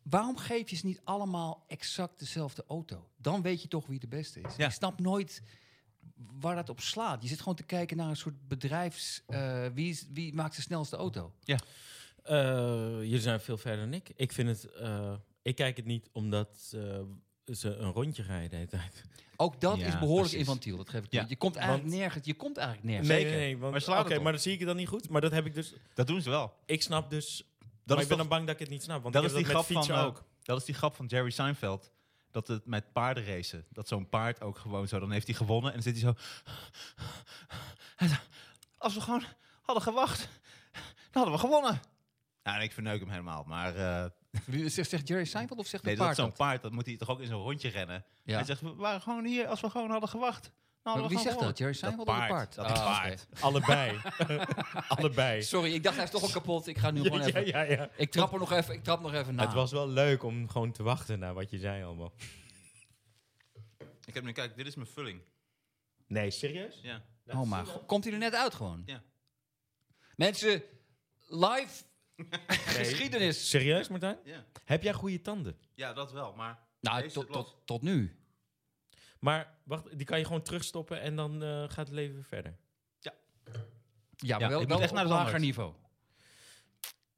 [SPEAKER 3] waarom geef je ze niet allemaal exact dezelfde auto? Dan weet je toch wie de beste is.
[SPEAKER 2] Ja.
[SPEAKER 3] Ik snap nooit waar dat op slaat. Je zit gewoon te kijken naar een soort bedrijfs... eh, wie, is- wie maakt de snelste auto?
[SPEAKER 4] Eh, jullie zijn veel verder dan ik. Ik vind het... eh, ik kijk het niet omdat eh, ze een rondje rijden de hele tijd.
[SPEAKER 3] Ook dat
[SPEAKER 2] Ja,
[SPEAKER 3] is behoorlijk
[SPEAKER 2] precies.
[SPEAKER 3] infantiel, dat geef ik
[SPEAKER 2] Ja.
[SPEAKER 3] toe. Je komt eigenlijk nergens, je komt eigenlijk nergens.
[SPEAKER 4] Nee,
[SPEAKER 2] zeker.
[SPEAKER 4] nee, nee. Want,
[SPEAKER 2] Maar slaat het
[SPEAKER 4] oké,
[SPEAKER 2] op?
[SPEAKER 4] maar dat zie ik het dan niet goed. Maar dat heb ik dus...
[SPEAKER 2] Dat doen ze wel.
[SPEAKER 4] Ik snap dus...
[SPEAKER 2] Dat
[SPEAKER 4] maar
[SPEAKER 2] is
[SPEAKER 4] ik ben
[SPEAKER 2] toch-
[SPEAKER 4] dan bang dat ik het niet snap. Want
[SPEAKER 2] Dat
[SPEAKER 4] ik
[SPEAKER 2] is die
[SPEAKER 4] heb dat
[SPEAKER 2] grap
[SPEAKER 4] met
[SPEAKER 2] van
[SPEAKER 4] fietsen
[SPEAKER 2] eh,
[SPEAKER 4] ook.
[SPEAKER 2] Dat is die grap van Jerry Seinfeld. Dat het met paarden racen. Dat zo'n paard ook gewoon zo. Dan heeft hij gewonnen. En dan zit hij zo. Hij zo, Als we gewoon hadden gewacht, dan hadden we gewonnen. Nou, en ik verneuk hem helemaal. Maar eh,
[SPEAKER 3] Wie- Zegt, zegt Jerry Seinfeld of zegt
[SPEAKER 2] nee,
[SPEAKER 3] de
[SPEAKER 2] dat
[SPEAKER 3] paard
[SPEAKER 2] zo'n
[SPEAKER 3] dat?
[SPEAKER 2] paard, dat moet hij toch ook in zo'n rondje rennen.
[SPEAKER 3] Ja.
[SPEAKER 2] Hij zegt, we waren gewoon hier als we gewoon hadden gewacht. dan hadden
[SPEAKER 3] Maar
[SPEAKER 2] we
[SPEAKER 3] wie
[SPEAKER 2] gewoon gewonnen.
[SPEAKER 3] zegt dat? Jerry Seinfeld
[SPEAKER 2] dat
[SPEAKER 3] of
[SPEAKER 2] paard.
[SPEAKER 3] het paard?
[SPEAKER 2] Dat
[SPEAKER 3] Ah, oké.
[SPEAKER 2] paard.
[SPEAKER 4] Allebei. Allebei.
[SPEAKER 3] Sorry, ik dacht hij is toch al kapot. Ik ga nu gewoon
[SPEAKER 4] ja,
[SPEAKER 3] even...
[SPEAKER 4] ja, ja.
[SPEAKER 3] Ik trap er nog even, ik trap nog even na.
[SPEAKER 4] Het was wel leuk om gewoon te wachten naar wat je zei allemaal.
[SPEAKER 2] Ik heb nu, kijk, dit is mijn vulling.
[SPEAKER 4] Nee, serieus?
[SPEAKER 2] Ja.
[SPEAKER 3] Oh, maar go- komt hij er net uit gewoon?
[SPEAKER 2] Ja.
[SPEAKER 3] Mensen, live geschiedenis.
[SPEAKER 4] Serieus, Martijn?
[SPEAKER 2] Ja.
[SPEAKER 4] Heb jij goede tanden?
[SPEAKER 2] ja, dat wel, maar...
[SPEAKER 3] Nou,
[SPEAKER 2] Deze
[SPEAKER 3] tot,
[SPEAKER 2] blad.
[SPEAKER 3] tot, tot nu.
[SPEAKER 4] Maar wacht, die kan je gewoon terugstoppen en dan eh, gaat het leven weer verder.
[SPEAKER 3] Ja, maar
[SPEAKER 2] Ja,
[SPEAKER 3] wel,
[SPEAKER 2] ik
[SPEAKER 3] wel
[SPEAKER 2] moet echt naar
[SPEAKER 3] echt naar een
[SPEAKER 2] de
[SPEAKER 3] lager
[SPEAKER 2] tandarts.
[SPEAKER 3] niveau.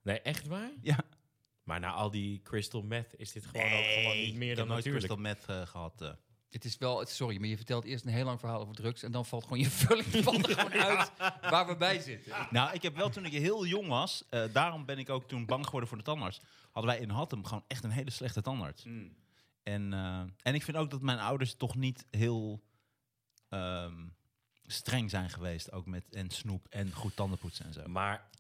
[SPEAKER 4] Nee, echt waar?
[SPEAKER 2] Ja.
[SPEAKER 4] Maar na al die crystal meth is dit gewoon ook gewoon niet meer
[SPEAKER 2] ik
[SPEAKER 4] dan
[SPEAKER 2] heb nooit
[SPEAKER 4] natuurlijk.
[SPEAKER 2] crystal meth eh, gehad. eh.
[SPEAKER 3] Het is wel, het- sorry, maar je vertelt eerst een heel lang verhaal over drugs... en dan valt gewoon je vulling van er gewoon uit waar we bij zitten.
[SPEAKER 4] Ah.
[SPEAKER 2] Nou, ik heb wel toen ik heel jong was, eh, daarom ben ik ook toen bang geworden voor de tandarts. Hadden wij in Hattem gewoon echt een hele slechte tandarts.
[SPEAKER 4] Hmm.
[SPEAKER 2] En, eh, en ik vind ook dat mijn ouders toch niet heel ehm, streng zijn geweest. Ook met en snoep en goed tandenpoetsen en zo.
[SPEAKER 4] Maar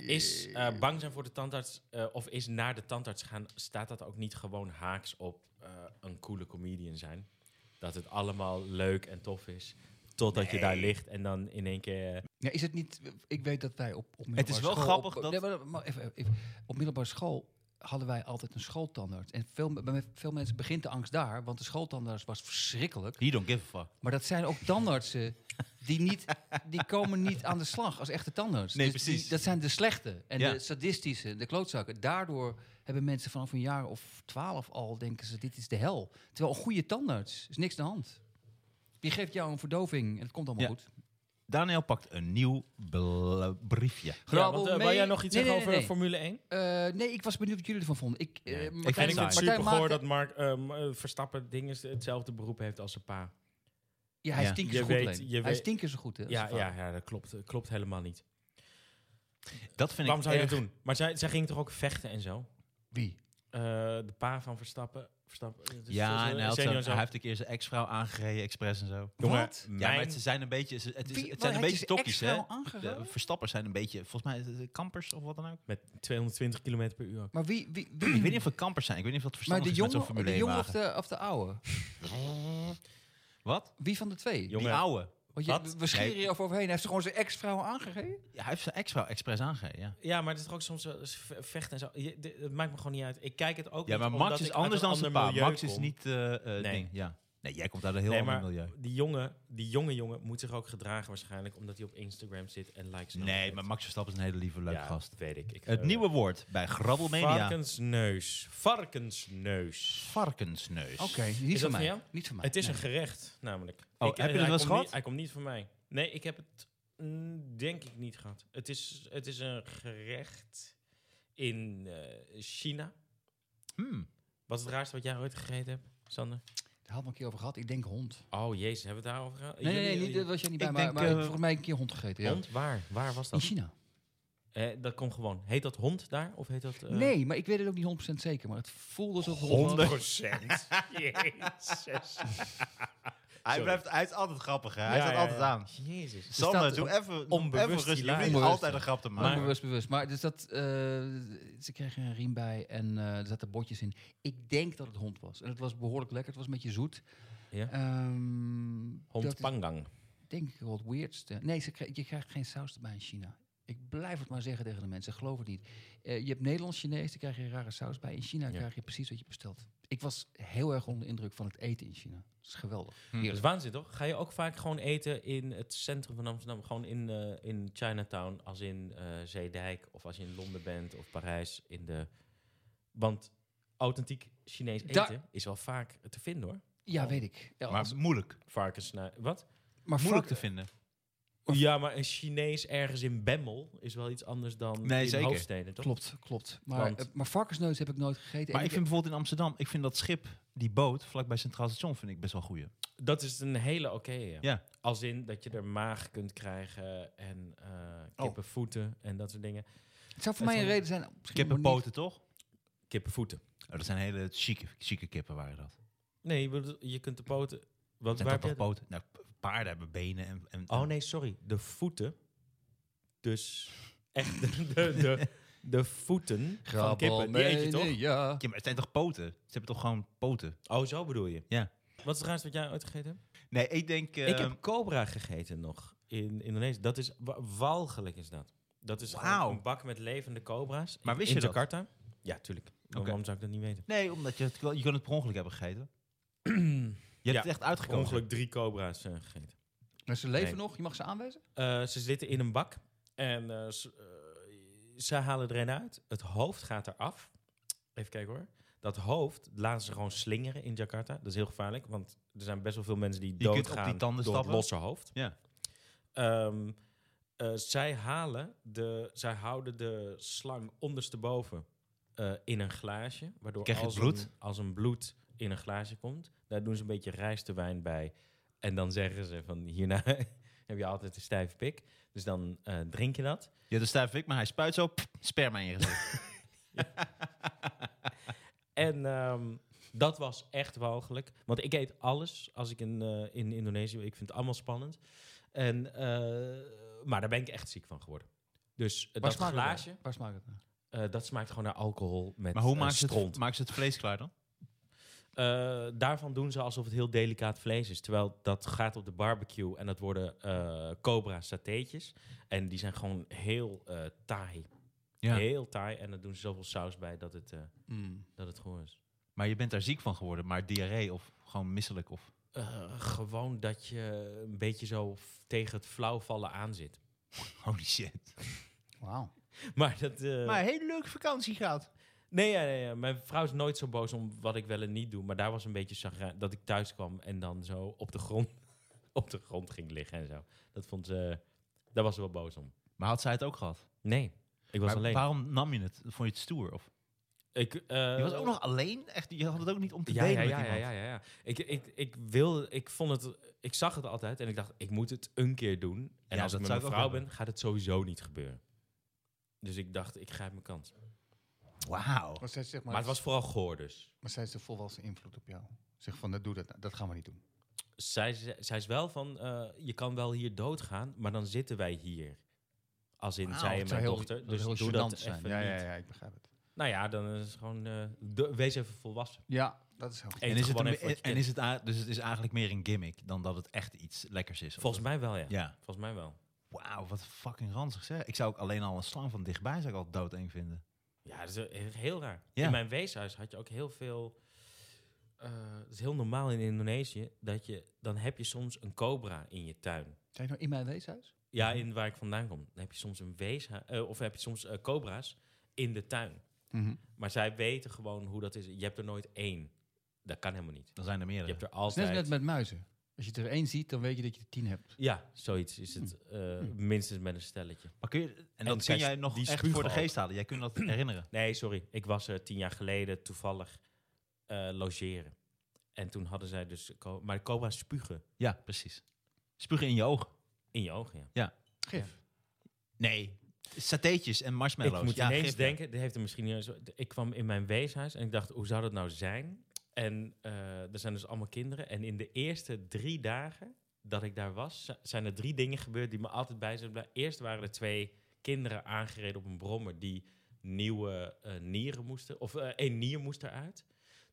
[SPEAKER 4] is eh, bang zijn voor de tandarts eh, of is naar de tandarts gaan, staat dat ook niet gewoon haaks op eh, een coole comedian zijn? Dat het allemaal leuk en tof is. Totdat je daar ligt en dan in één keer. eh,
[SPEAKER 3] Ja, is het niet... Ik weet dat wij op, op middelbare
[SPEAKER 2] Het is wel
[SPEAKER 3] school
[SPEAKER 2] grappig
[SPEAKER 3] op,
[SPEAKER 2] dat-
[SPEAKER 3] Nee, maar, maar even, even. Op middelbare school hadden wij altijd een schooltandarts. En veel, bij me- veel mensen begint de angst daar... want de schooltandarts was verschrikkelijk.
[SPEAKER 2] You don't give a fuck.
[SPEAKER 3] Maar dat zijn ook tandartsen die, niet, die komen niet aan de slag als echte tandarts. Dus
[SPEAKER 2] Nee,
[SPEAKER 3] die-
[SPEAKER 2] precies.
[SPEAKER 3] dat zijn de slechte en
[SPEAKER 2] Ja.
[SPEAKER 3] de sadistische, de klootzakken. Daardoor hebben mensen vanaf een jaar of twaalf al denken ze, dit is de hel. Terwijl een goede tandarts is niks aan de hand. Die geeft jou een verdoving en het komt allemaal
[SPEAKER 2] Ja.
[SPEAKER 3] goed.
[SPEAKER 2] Daniel pakt een nieuw bl- briefje.
[SPEAKER 4] Ja,
[SPEAKER 3] Grabbel
[SPEAKER 4] want, eh,
[SPEAKER 3] mee-
[SPEAKER 4] wil jij nog iets
[SPEAKER 3] Nee, nee,
[SPEAKER 4] zeggen
[SPEAKER 3] nee,
[SPEAKER 4] over Formule 1?
[SPEAKER 3] nee. Eh, nee, ik was benieuwd wat jullie ervan vonden. Ik, eh,
[SPEAKER 2] Nee. Ik
[SPEAKER 4] Ik
[SPEAKER 3] Martijn-
[SPEAKER 2] vind
[SPEAKER 4] vind het
[SPEAKER 2] saai.
[SPEAKER 4] super
[SPEAKER 3] Martijn
[SPEAKER 4] goor
[SPEAKER 3] maakte-
[SPEAKER 4] dat Mark ehm, eh, Verstappen dingen hetzelfde beroep heeft als zijn pa.
[SPEAKER 3] Ja, hij
[SPEAKER 2] Ja.
[SPEAKER 3] stinkt
[SPEAKER 4] Je
[SPEAKER 3] zo goed.
[SPEAKER 4] weet-
[SPEAKER 3] alleen.
[SPEAKER 4] je
[SPEAKER 3] hij
[SPEAKER 4] weet-
[SPEAKER 3] stinkt zo goed. Hè, Dus als
[SPEAKER 4] Ja,
[SPEAKER 3] zijn vader.
[SPEAKER 4] ja, ja, dat klopt, eh, klopt helemaal niet.
[SPEAKER 2] Dat vind
[SPEAKER 4] Waarom
[SPEAKER 2] ik
[SPEAKER 4] zou je
[SPEAKER 2] erg-
[SPEAKER 4] dat doen? Maar zij, zij ging toch ook vechten en zo?
[SPEAKER 3] Wie?
[SPEAKER 4] Eh, de pa van Verstappen. Verstappen eh, dus
[SPEAKER 2] Ja,
[SPEAKER 4] zoals,
[SPEAKER 2] en
[SPEAKER 4] eh,
[SPEAKER 2] hij, had
[SPEAKER 4] senior
[SPEAKER 2] zo,
[SPEAKER 4] zo.
[SPEAKER 2] hij heeft een keer zijn ex-vrouw aangereden, expres en zo.
[SPEAKER 4] Jongen,
[SPEAKER 3] Wat?
[SPEAKER 4] mijn-
[SPEAKER 2] Ja, maar het zijn een beetje, het, is, het
[SPEAKER 3] Wie-
[SPEAKER 2] zijn een
[SPEAKER 3] hij
[SPEAKER 2] beetje
[SPEAKER 3] is
[SPEAKER 2] topjes, hè?
[SPEAKER 3] ex-vrouw aangehouden?
[SPEAKER 2] De verstappers zijn een beetje, volgens mij, eh, kampers of wat dan ook.
[SPEAKER 4] Met 220 km per uur.
[SPEAKER 3] Maar wie, wie, wie-
[SPEAKER 2] Ik weet niet of het kampers zijn. Ik weet niet of dat
[SPEAKER 3] maar
[SPEAKER 2] verstandig
[SPEAKER 3] de
[SPEAKER 2] is met zo'n Formule
[SPEAKER 3] jonge, de
[SPEAKER 2] 1
[SPEAKER 3] jonge of
[SPEAKER 2] wagen.
[SPEAKER 3] de, of de oude?
[SPEAKER 2] Wat?
[SPEAKER 3] Wie van de twee?
[SPEAKER 4] Jongen.
[SPEAKER 2] Die oude.
[SPEAKER 3] Want je,
[SPEAKER 4] Wat?
[SPEAKER 3] we scheren
[SPEAKER 2] Nee.
[SPEAKER 3] je over overheen. Hij heeft ze gewoon zijn ex-vrouw aangegeven?
[SPEAKER 2] Ja, hij heeft zijn ex-vrouw expres aangereden, ja.
[SPEAKER 4] Ja, maar het is toch ook soms wel eens ve- vechten en zo. Je- de- Het maakt me gewoon niet uit. Ik kijk het ook
[SPEAKER 2] Ja,
[SPEAKER 4] niet
[SPEAKER 2] maar
[SPEAKER 4] omdat
[SPEAKER 2] Max
[SPEAKER 4] ik
[SPEAKER 2] is
[SPEAKER 4] uit
[SPEAKER 2] anders
[SPEAKER 4] een
[SPEAKER 2] dan zijn
[SPEAKER 4] ander
[SPEAKER 2] pa.
[SPEAKER 4] milieu
[SPEAKER 2] Max is
[SPEAKER 4] kom.
[SPEAKER 2] niet eh eh,
[SPEAKER 4] Nee.
[SPEAKER 2] ding, ja. Nee, jij komt uit een heel
[SPEAKER 4] Nee,
[SPEAKER 2] ander
[SPEAKER 4] maar
[SPEAKER 2] milieu.
[SPEAKER 4] die jongen, die jonge jongen moet zich ook gedragen waarschijnlijk. Omdat hij op Instagram zit en likes nodig
[SPEAKER 2] Nee,
[SPEAKER 4] heeft.
[SPEAKER 2] maar Max Verstappen is een hele lieve, leuke
[SPEAKER 4] Ja,
[SPEAKER 2] gast.
[SPEAKER 4] weet ik. ik
[SPEAKER 2] Het
[SPEAKER 4] eh,
[SPEAKER 2] nieuwe woord bij Grabbel Media.
[SPEAKER 4] Varkensneus. Varkensneus.
[SPEAKER 2] Varkensneus.
[SPEAKER 3] Oké,
[SPEAKER 4] dat
[SPEAKER 3] niet van
[SPEAKER 4] van
[SPEAKER 3] mij.
[SPEAKER 4] jou?
[SPEAKER 3] niet van mij.
[SPEAKER 4] Het is
[SPEAKER 3] Nee.
[SPEAKER 4] een gerecht, namelijk.
[SPEAKER 2] Oh, heb je
[SPEAKER 4] eh,
[SPEAKER 2] dat
[SPEAKER 4] hij
[SPEAKER 2] wel eens
[SPEAKER 4] komt
[SPEAKER 2] gehad?
[SPEAKER 4] niet- Hij komt niet van mij. Nee, ik heb het mm, denk ik niet gehad. Het is, het is een gerecht in eh, China.
[SPEAKER 2] Hmm.
[SPEAKER 4] Wat is het raarste wat jij ooit gegeten hebt, Sander?
[SPEAKER 3] Daar hadden we een keer over gehad. Ik denk hond.
[SPEAKER 4] Oh, jezus, hebben we het daarover gehad?
[SPEAKER 3] Nee, nee,
[SPEAKER 4] Jullie-
[SPEAKER 3] nee, niet, dat
[SPEAKER 4] jullie-
[SPEAKER 3] was jij niet
[SPEAKER 2] Ik
[SPEAKER 3] bij. Maar,
[SPEAKER 2] denk,
[SPEAKER 3] maar ik
[SPEAKER 2] eh,
[SPEAKER 3] heb volgens mij een keer hond gegeten. Ja.
[SPEAKER 4] Hond? Waar? Waar was
[SPEAKER 3] In
[SPEAKER 4] dat?
[SPEAKER 3] China.
[SPEAKER 4] Eh, dat komt gewoon. Heet dat hond daar? Of heet dat... eh,
[SPEAKER 3] Nee, maar ik weet het ook niet 100% zeker. Maar het voelde alsof het hond was.
[SPEAKER 4] 100 procent. Jezus.
[SPEAKER 2] Hij,
[SPEAKER 4] Sorry.
[SPEAKER 2] blijft, hij is altijd grappig, hè? Hij
[SPEAKER 4] Ja,
[SPEAKER 2] staat
[SPEAKER 4] ja,
[SPEAKER 2] altijd
[SPEAKER 4] ja.
[SPEAKER 2] aan.
[SPEAKER 4] Jezus.
[SPEAKER 2] Sander,
[SPEAKER 3] staat
[SPEAKER 2] doe even
[SPEAKER 4] onbewust
[SPEAKER 2] onbewust
[SPEAKER 4] die
[SPEAKER 2] rustig. Je hoeft
[SPEAKER 4] lijn.
[SPEAKER 2] niet altijd een grap te
[SPEAKER 4] Maar-
[SPEAKER 2] maken.
[SPEAKER 3] Onbewust, bewust. Maar dus dat, eh, ze kregen een riem bij en eh, er zaten botjes in. Ik denk dat het hond was. En het was behoorlijk lekker. Het was een beetje zoet.
[SPEAKER 4] Ja.
[SPEAKER 3] Ehm, dat
[SPEAKER 4] Hond
[SPEAKER 3] is
[SPEAKER 4] pangang.
[SPEAKER 3] denk ik wel het weirdste. Nee, ze kri- je krijgt geen saus erbij in China. Ik blijf het maar zeggen tegen de mensen. Geloof het niet. Eh, je hebt Nederlands-Chinees, daar krijg je rare saus bij. In China
[SPEAKER 4] Ja.
[SPEAKER 3] krijg je precies wat je bestelt. Ik was heel erg onder de indruk van het eten in China. Dat is geweldig.
[SPEAKER 2] Hm.
[SPEAKER 4] Dat is
[SPEAKER 3] Heerlijk.
[SPEAKER 4] waanzin, toch? Ga je ook vaak gewoon eten in het centrum van Amsterdam? Gewoon in, eh, in Chinatown, als in eh, Zeedijk, of als je in Londen bent, of Parijs. In de... Want authentiek Chinees eten
[SPEAKER 3] Daar-
[SPEAKER 4] is wel vaak te vinden, hoor.
[SPEAKER 3] Ja, weet ik. Ja,
[SPEAKER 2] Maar
[SPEAKER 3] als-
[SPEAKER 2] moeilijk.
[SPEAKER 4] Varkensnij... Wat?
[SPEAKER 3] maar
[SPEAKER 2] Moeilijk
[SPEAKER 3] fuck-
[SPEAKER 2] te vinden.
[SPEAKER 4] Ja, maar een Chinees ergens in Bemmel is wel iets anders dan
[SPEAKER 2] Nee,
[SPEAKER 4] in
[SPEAKER 2] zeker.
[SPEAKER 4] hoofdsteden, toch?
[SPEAKER 3] Klopt, klopt. Maar,
[SPEAKER 4] Want-
[SPEAKER 3] eh, maar varkensneus heb ik nooit gegeten.
[SPEAKER 2] Maar
[SPEAKER 3] En
[SPEAKER 2] ik vind bijvoorbeeld in Amsterdam, ik vind dat schip, die boot, vlakbij Centraal Station, vind ik best wel goeie.
[SPEAKER 4] Dat is een hele oké. ja.
[SPEAKER 2] Ja.
[SPEAKER 4] Als in dat je er maag kunt krijgen en eh
[SPEAKER 2] Oh.
[SPEAKER 4] kippenvoeten en dat soort dingen.
[SPEAKER 3] het zou voor mij
[SPEAKER 4] het
[SPEAKER 3] een
[SPEAKER 4] zal-
[SPEAKER 3] reden zijn... misschien maar niet-
[SPEAKER 2] Kippenpoten, toch?
[SPEAKER 4] Kippenvoeten.
[SPEAKER 2] Oh, dat zijn hele chique, chique kippen waren dat.
[SPEAKER 4] Nee, je bedoelt- je kunt de poten...
[SPEAKER 2] Zijn
[SPEAKER 4] Wat, waar
[SPEAKER 2] dat
[SPEAKER 4] heb
[SPEAKER 2] toch
[SPEAKER 4] je dat?
[SPEAKER 2] poten? Nou, p- paarden hebben benen en... en
[SPEAKER 4] Oh nee, sorry. De voeten. Dus echt de, de, de, de voeten van kippen. Die eet je toch?
[SPEAKER 3] Ja.
[SPEAKER 2] Ja, maar het zijn toch poten? Ze hebben toch gewoon poten?
[SPEAKER 4] Oh, zo bedoel je?
[SPEAKER 2] Ja.
[SPEAKER 4] Wat is het raarste wat jij ooit gegeten hebt?
[SPEAKER 2] Nee, ik denk... eh,
[SPEAKER 4] ik heb cobra gegeten nog in Indonesië. Dat is... wa- Walgelijk is dat. Dat is gewoon
[SPEAKER 2] Wauw.
[SPEAKER 4] een bak met levende cobra's.
[SPEAKER 2] Maar
[SPEAKER 4] in-
[SPEAKER 2] wist
[SPEAKER 4] in
[SPEAKER 2] je dat?
[SPEAKER 4] Jakarta? Ja, tuurlijk. Maar
[SPEAKER 2] Oké.
[SPEAKER 4] Waarom zou ik dat niet weten?
[SPEAKER 2] Nee, omdat je het, wel- je kan het per ongeluk hebben gegeten. je hebt
[SPEAKER 4] Ja,
[SPEAKER 2] het echt
[SPEAKER 4] Per
[SPEAKER 2] uitgekozen.
[SPEAKER 4] ongeluk drie cobra's eh, gegeten.
[SPEAKER 3] Maar ze leven
[SPEAKER 4] Nee.
[SPEAKER 3] nog, je mag ze aanwijzen.
[SPEAKER 4] Eh, ze zitten in een bak en eh, ze, eh, ze halen er een uit. Het hoofd gaat eraf. Even kijken hoor. Dat hoofd laten ze gewoon slingeren in Jakarta. Dat is heel gevaarlijk, want er zijn best wel veel mensen die
[SPEAKER 2] kunt op die
[SPEAKER 4] doodgaan
[SPEAKER 2] tanden
[SPEAKER 4] door het
[SPEAKER 2] stappen.
[SPEAKER 4] losse hoofd.
[SPEAKER 2] Ja.
[SPEAKER 4] Ehm, eh, zij halen de, zij houden de slang ondersteboven eh, in een glaasje, waardoor
[SPEAKER 2] Krijg je
[SPEAKER 4] als,
[SPEAKER 2] het bloed?
[SPEAKER 4] Een, als een bloed in een glaasje komt, daar doen ze een beetje rijstewijn bij. En dan zeggen ze van hierna heb je altijd een stijve pik. Dus dan eh, drink je dat.
[SPEAKER 2] Ja, dat stuif ik, maar hij spuit zo pff, sperma in je gezicht.
[SPEAKER 4] En ehm, dat was echt walgelijk. Want ik eet alles als ik in, eh, in Indonesië ben. Ik vind het allemaal spannend. En, eh, maar daar ben ik echt ziek van geworden. Dus eh, dat
[SPEAKER 3] smaakt het naar?
[SPEAKER 4] glaasje,
[SPEAKER 3] Waar smaakt het naar?
[SPEAKER 4] eh, dat smaakt gewoon naar alcohol met
[SPEAKER 2] maar hoe
[SPEAKER 4] eh,
[SPEAKER 2] maken ze,
[SPEAKER 4] stront.
[SPEAKER 2] het, maken ze het vlees klaar dan?
[SPEAKER 4] Eh, daarvan doen ze alsof het heel delicaat vlees is. Terwijl dat gaat op de barbecue en dat worden eh cobra satéetjes. En die zijn gewoon heel eh taai. Heel taai. En daar doen ze zoveel saus bij dat het, eh, dat het gewoon is.
[SPEAKER 2] Maar je bent daar ziek van geworden, maar diarree of gewoon misselijk of...
[SPEAKER 4] eh, gewoon dat je een beetje zo f- tegen het flauwvallen aan zit.
[SPEAKER 2] Holy shit.
[SPEAKER 3] Wauw.
[SPEAKER 4] Maar dat... eh,
[SPEAKER 2] Maar een hele leuke vakantie gehad.
[SPEAKER 4] Nee, ja, nee, ja. mijn vrouw is nooit zo boos om wat ik wel en niet doe. Maar daar was een beetje chagrijn dat ik thuis kwam en dan zo op de grond, op de grond ging liggen en zo. Dat vond ze, daar was ze wel boos om.
[SPEAKER 2] Maar had zij het ook gehad?
[SPEAKER 4] Nee, ik was
[SPEAKER 2] Maar
[SPEAKER 4] alleen.
[SPEAKER 2] Waarom nam je het? Vond je het stoer? Of?
[SPEAKER 4] Ik, eh,
[SPEAKER 2] je was ook nog alleen? Echt, je had het ook niet om te
[SPEAKER 4] ja,
[SPEAKER 2] delen
[SPEAKER 4] ja,
[SPEAKER 2] met
[SPEAKER 4] ja, ja,
[SPEAKER 2] iemand?
[SPEAKER 4] ja, ja, ja. Ik, ik, ik wil, ik vond het, ik zag het altijd en ik dacht, ik moet het een keer doen. En
[SPEAKER 2] Ja,
[SPEAKER 4] als
[SPEAKER 2] dat
[SPEAKER 4] ik
[SPEAKER 2] zou
[SPEAKER 4] met mijn
[SPEAKER 2] ik ook
[SPEAKER 4] vrouw
[SPEAKER 2] hebben.
[SPEAKER 4] ben, gaat het sowieso niet gebeuren. Dus ik dacht, ik grijp mijn kans.
[SPEAKER 2] Wauw.
[SPEAKER 3] Maar, zij zegt,
[SPEAKER 4] Maar het was vooral goor dus.
[SPEAKER 3] maar zij is de volwassen invloed op jou. Zeg van, dat, doe dat, dat gaan we niet doen.
[SPEAKER 4] zij, ze- zij is wel van, eh, je kan wel hier doodgaan, maar dan zitten wij hier. Als in
[SPEAKER 3] Wauw,
[SPEAKER 4] zij en
[SPEAKER 3] het
[SPEAKER 4] mijn
[SPEAKER 3] zou heel-
[SPEAKER 4] dochter.
[SPEAKER 3] dat
[SPEAKER 4] Dus
[SPEAKER 3] zou heel
[SPEAKER 4] doe
[SPEAKER 3] gênant
[SPEAKER 4] dat
[SPEAKER 3] zijn.
[SPEAKER 4] even
[SPEAKER 3] ja, ja,
[SPEAKER 4] niet.
[SPEAKER 3] ja, ik begrijp het.
[SPEAKER 4] Nou ja, dan is het gewoon, eh, do- wees even volwassen.
[SPEAKER 3] Ja, dat is heel goed.
[SPEAKER 4] Eet
[SPEAKER 2] En is, het
[SPEAKER 4] gewoon
[SPEAKER 2] een-
[SPEAKER 4] even wat
[SPEAKER 2] en
[SPEAKER 4] je kent.
[SPEAKER 2] is het a- dus het is eigenlijk meer een gimmick dan dat het echt iets lekkers is. of
[SPEAKER 4] Volgens
[SPEAKER 2] dat-
[SPEAKER 4] mij wel, ja.
[SPEAKER 2] Ja.
[SPEAKER 4] Volgens mij wel.
[SPEAKER 2] Wauw, wat fucking ranzig zeg. Ik zou ook alleen al een slang van dichtbij zou ik al doodeng vinden.
[SPEAKER 4] Ja, dat is heel- heel raar.
[SPEAKER 2] Ja.
[SPEAKER 4] In mijn weeshuis had je ook heel veel... eh, Het is heel normaal in Indonesië, dat je, dan heb je soms een cobra in je tuin.
[SPEAKER 3] Zijn je nou in mijn weeshuis?
[SPEAKER 4] Ja, in waar ik vandaan kom. Dan heb je soms een weeshuis, eh, of heb je soms eh, cobra's in de tuin.
[SPEAKER 3] Mhm.
[SPEAKER 4] Maar zij weten gewoon hoe dat is. Je hebt er nooit één. Dat kan helemaal niet.
[SPEAKER 2] Dan zijn er
[SPEAKER 4] Je
[SPEAKER 2] meerdere.
[SPEAKER 4] hebt er
[SPEAKER 3] Het is
[SPEAKER 4] altijd...
[SPEAKER 3] net, net met muizen. Als je er één ziet, dan weet je dat je er tien hebt.
[SPEAKER 4] Ja, zoiets is het.
[SPEAKER 3] Hmm.
[SPEAKER 4] eh, minstens met een stelletje.
[SPEAKER 2] Maar kun je, en, dat kun
[SPEAKER 4] zij
[SPEAKER 2] jij
[SPEAKER 4] s-
[SPEAKER 2] nog
[SPEAKER 4] die
[SPEAKER 2] echt
[SPEAKER 4] spugen
[SPEAKER 2] voor de
[SPEAKER 4] ook.
[SPEAKER 2] geest halen. Jij kunt dat herinneren.
[SPEAKER 4] Nee, sorry. Ik was er tien jaar geleden toevallig eh, logeren. En toen hadden zij dus... ko- Maar de cobra's spugen
[SPEAKER 2] Ja, precies. Spugen in je ogen.
[SPEAKER 4] in je ogen, ja.
[SPEAKER 3] Gif.
[SPEAKER 2] Nee, satéetjes en marshmallows.
[SPEAKER 4] Ik moet
[SPEAKER 2] ja,
[SPEAKER 4] ineens
[SPEAKER 2] gif, ja.
[SPEAKER 4] denken, dit heeft er misschien niet eens- Ik kwam in mijn weeshuis en ik dacht, hoe zou dat nou zijn? En eh, er zijn dus allemaal kinderen. En in de eerste drie dagen dat ik daar was, z- zijn er drie dingen gebeurd die me altijd bij zijn. blijven. Eerst waren er twee kinderen aangereden op een brommer die nieuwe eh, nieren moesten, of eh, één nier moest eruit.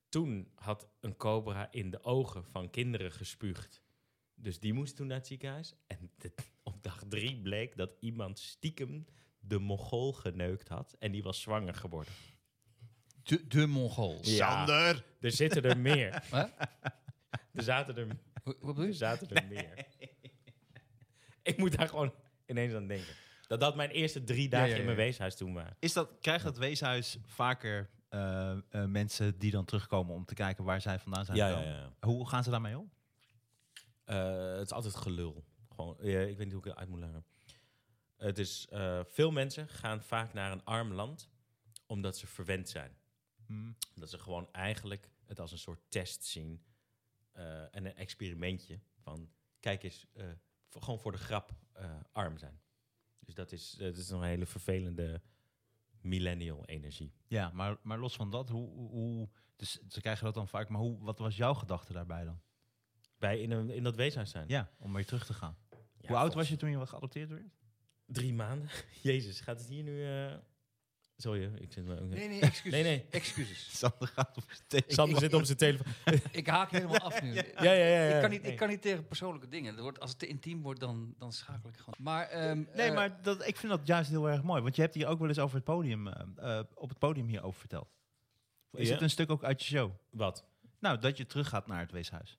[SPEAKER 4] Toen had een cobra in de ogen van kinderen gespuugd. Dus die moest toen naar het ziekenhuis. En op dag drie bleek dat iemand stiekem de Mongool geneukt had. En die was zwanger geworden.
[SPEAKER 3] De, de Mongool.
[SPEAKER 4] Sander! Er zitten er meer.
[SPEAKER 3] Hè?
[SPEAKER 4] Er zaten er,
[SPEAKER 3] Wat wat bedoel
[SPEAKER 4] er,
[SPEAKER 3] je?
[SPEAKER 4] zaten er meer. Ik moet daar gewoon ineens aan denken. Dat dat mijn eerste drie dagen
[SPEAKER 3] ja,
[SPEAKER 4] in mijn
[SPEAKER 3] ja.
[SPEAKER 4] weeshuis toen waren.
[SPEAKER 2] Is dat, krijgt dat weeshuis vaker eh, eh, mensen die dan terugkomen om te kijken waar zij vandaan zijn gekomen? Hoe gaan ze daarmee om?
[SPEAKER 4] Eh, het is altijd gelul. Gewoon, eh, ik weet niet hoe ik het uit moet leggen. Het is, eh, veel mensen gaan vaak naar een arm land omdat ze verwend zijn.
[SPEAKER 2] Hm.
[SPEAKER 4] Dat ze gewoon eigenlijk het als een soort test zien. eh, en een experimentje van, kijk eens, eh, voor- gewoon voor de grap eh, arm zijn. Dus dat is, eh, dat is nog een hele vervelende millennial energie.
[SPEAKER 2] Ja, maar, maar los van dat, hoe, hoe- hoe, dus ze krijgen dat dan vaak, maar hoe, wat was jouw gedachte daarbij dan?
[SPEAKER 4] Bij in, een, in dat weeshuis zijn.
[SPEAKER 2] Ja, om weer terug te gaan.
[SPEAKER 4] Ja,
[SPEAKER 2] hoe oud
[SPEAKER 4] volgens-
[SPEAKER 2] was je toen je geadopteerd werd?
[SPEAKER 4] Drie maanden. Jezus, gaat het hier nu... eh, Sorry, hoor, ik zit... me-
[SPEAKER 3] Nee, nee, excuses.
[SPEAKER 4] Nee, nee.
[SPEAKER 3] Excuses.
[SPEAKER 2] Sander gaat op steeds.
[SPEAKER 4] Sander zit op zijn telefoon.
[SPEAKER 3] Ik haak helemaal af nu.
[SPEAKER 4] Ja, ja, ja.
[SPEAKER 3] Ik kan, niet,
[SPEAKER 4] Eh, Nee.
[SPEAKER 3] ik kan niet tegen persoonlijke dingen. Dat wordt, als het te intiem wordt, dan, dan schakel ik gewoon. Maar, ehm,
[SPEAKER 2] Nee,
[SPEAKER 3] eh,
[SPEAKER 2] maar dat, ik vind dat juist heel erg mooi. Want je hebt hier ook wel eens over het podium, eh, eh, op het podium hierover verteld. Is
[SPEAKER 4] Ja.
[SPEAKER 2] het een stuk ook uit je show?
[SPEAKER 4] Wat?
[SPEAKER 2] Nou, dat je teruggaat naar het weeshuis.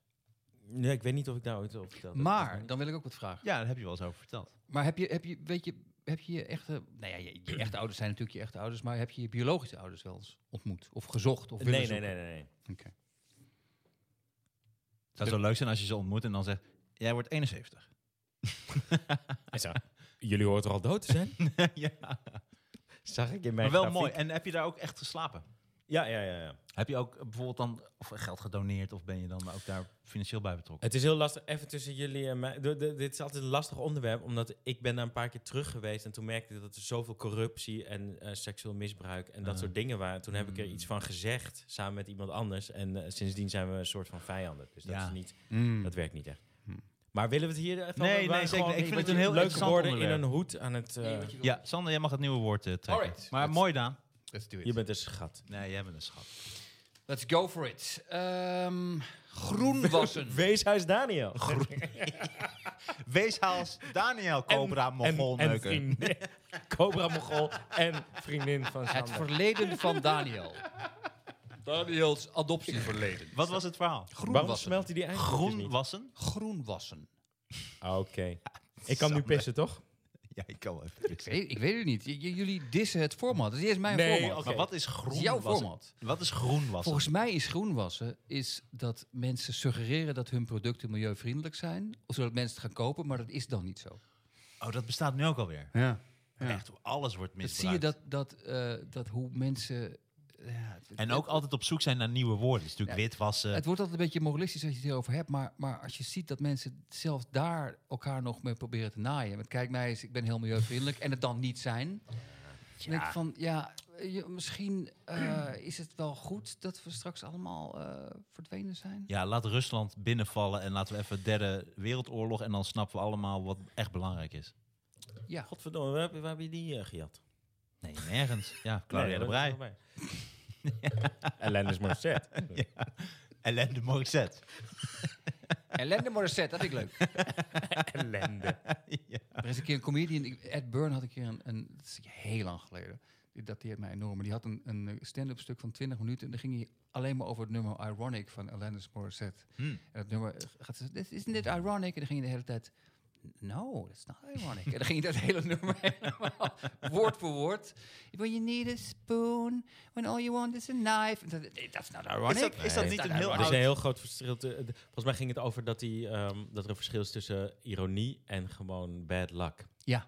[SPEAKER 4] Nee, ik weet niet of ik daar ooit over verteld heb.
[SPEAKER 3] maar, dan wil ik ook wat vragen.
[SPEAKER 2] Ja, daar heb je wel eens over verteld.
[SPEAKER 3] Maar heb je, heb je, weet je, heb je je echte... Nou ja, je, je echte ouders zijn natuurlijk je echte ouders. Maar heb je je biologische ouders wel eens ontmoet? Of gezocht? Of
[SPEAKER 4] Nee,
[SPEAKER 3] willen
[SPEAKER 4] nee, nee,
[SPEAKER 3] zoeken?
[SPEAKER 4] nee, nee.
[SPEAKER 3] Oké.
[SPEAKER 2] Het zou zo leuk zijn als je ze ontmoet en dan zegt, jij wordt 71.
[SPEAKER 4] Hij zei, jullie hoort er al dood te zijn?
[SPEAKER 2] ja.
[SPEAKER 4] Zag ik in mijn
[SPEAKER 2] Maar wel
[SPEAKER 4] grafiek.
[SPEAKER 2] mooi. En heb je daar ook echt geslapen?
[SPEAKER 4] Ja, ja, ja, ja.
[SPEAKER 2] Heb je ook eh, bijvoorbeeld dan of geld gedoneerd of ben je dan ook daar financieel bij betrokken?
[SPEAKER 4] Het is heel lastig, even tussen jullie en mij. De- de- dit is altijd een lastig onderwerp, omdat ik ben daar een paar keer terug geweest. En toen merkte ik dat er zoveel corruptie en eh, seksueel misbruik en dat
[SPEAKER 2] Ah.
[SPEAKER 4] soort dingen waren. Toen heb ik er
[SPEAKER 2] Mm.
[SPEAKER 4] iets van gezegd, samen met iemand anders. En eh, sindsdien zijn we een soort van vijanden. Dus dat,
[SPEAKER 2] Ja.
[SPEAKER 4] is niet,
[SPEAKER 3] Mm.
[SPEAKER 4] dat werkt niet echt. Maar willen we het hier echt
[SPEAKER 2] Nee,
[SPEAKER 4] over-
[SPEAKER 2] nee,
[SPEAKER 4] waren
[SPEAKER 2] zeker.
[SPEAKER 4] gewoon
[SPEAKER 2] Ik vind het
[SPEAKER 4] wat
[SPEAKER 2] een heel
[SPEAKER 4] je- leuke
[SPEAKER 2] interessant
[SPEAKER 4] woorden in
[SPEAKER 2] onderwerp.
[SPEAKER 4] een hoed aan het... eh,
[SPEAKER 3] Nee, wat je wil.
[SPEAKER 2] Ja, Sander, jij mag het nieuwe woord eh, trekken.
[SPEAKER 3] Alright.
[SPEAKER 2] Maar
[SPEAKER 3] Let's-
[SPEAKER 2] mooi, Daan.
[SPEAKER 3] Let's do it.
[SPEAKER 4] je bent een schat.
[SPEAKER 2] Nee, jij bent een schat.
[SPEAKER 3] Let's go for it. Ehm, groen wassen.
[SPEAKER 4] Weeshuis Daniel.
[SPEAKER 2] Weeshaals, Daniel, Cobra, Mogol,
[SPEAKER 4] en, en
[SPEAKER 2] Neuken.
[SPEAKER 4] vriendin. Cobra Mogol en vriendin van
[SPEAKER 3] het
[SPEAKER 4] Sander.
[SPEAKER 3] verleden van Daniel. Daniels adoptie verleden.
[SPEAKER 2] Wat was het verhaal?
[SPEAKER 3] Groen
[SPEAKER 4] Waarom
[SPEAKER 3] wassen.
[SPEAKER 4] smelt hij die eigenlijk
[SPEAKER 2] Groen
[SPEAKER 4] niet?
[SPEAKER 2] wassen?
[SPEAKER 3] Groen wassen.
[SPEAKER 4] Oké. Ik kan nu
[SPEAKER 2] Sander.
[SPEAKER 4] pissen, toch?
[SPEAKER 2] Ja, ik kan wel even.
[SPEAKER 3] Ik weet, ik weet het niet. J- j- jullie dissen het format. Het is mijn
[SPEAKER 4] Nee,
[SPEAKER 3] format.
[SPEAKER 4] oké.
[SPEAKER 2] Maar wat is
[SPEAKER 3] Het
[SPEAKER 2] groen
[SPEAKER 3] is jouw
[SPEAKER 2] wassen?
[SPEAKER 3] format.
[SPEAKER 2] Wat is groen wassen?
[SPEAKER 3] Volgens mij is groenwassen is dat mensen suggereren dat hun producten milieuvriendelijk zijn, zodat mensen het gaan kopen, maar dat is dan niet zo.
[SPEAKER 2] Oh, dat bestaat nu ook alweer.
[SPEAKER 3] Ja.
[SPEAKER 2] Echt, alles wordt
[SPEAKER 3] Dat
[SPEAKER 2] misbruikt.
[SPEAKER 3] zie je dat, dat, eh, dat hoe mensen. Ja, het-
[SPEAKER 2] En eh, ook altijd op zoek zijn naar nieuwe woorden. Het is natuurlijk witwassen.
[SPEAKER 3] Het wordt altijd een beetje moralistisch als je het hierover hebt, maar, maar als je ziet dat mensen zelfs daar elkaar nog mee proberen te naaien. Want kijk mij eens, ik ben heel milieuvriendelijk en het dan niet zijn. Dan denk ik van, ja, je- misschien eh, is het wel goed dat we straks allemaal eh, verdwenen zijn.
[SPEAKER 2] Ja, laat Rusland binnenvallen en laten we even derde wereldoorlog. En dan snappen we allemaal wat echt belangrijk is.
[SPEAKER 3] Ja.
[SPEAKER 4] Godverdomme, waar, heb je- waar heb je die eh, gejat?
[SPEAKER 2] Nee, nergens. Ja, Claudia de Brij.
[SPEAKER 4] Ellen is maar set.
[SPEAKER 2] Ellende Morissette.
[SPEAKER 3] Ellende Morissette, dat vind ik leuk.
[SPEAKER 4] Ellende.
[SPEAKER 3] Er is een keer een comedian, ik- Ed Byrne had een keer een, een dat is heel lang geleden, die dateert mij enorm, maar die had een, een eh, stand-up stuk van 20 minuten en dan ging hij alleen maar over het nummer Ironic van Alanis Morissette.
[SPEAKER 2] Hmm.
[SPEAKER 3] En dat nummer eh, gaat, zo, "This- isn't it ironic? En dan ging hij de hele tijd, no, that's not ironic. en dan ging hij dat hele nummer helemaal woord voor woord. When you need a spoon, when all you want is a knife. En dat- eh, That's not ironic.
[SPEAKER 2] Is dat- is dat
[SPEAKER 3] Eh,
[SPEAKER 2] niet
[SPEAKER 3] that's
[SPEAKER 2] een
[SPEAKER 3] not
[SPEAKER 2] heel
[SPEAKER 4] Er is
[SPEAKER 3] ironic.
[SPEAKER 4] een heel groot verschil. te- de- volgens mij ging het over dat, die, ehm, dat er een verschil is tussen ironie en gewoon bad luck.
[SPEAKER 3] Ja,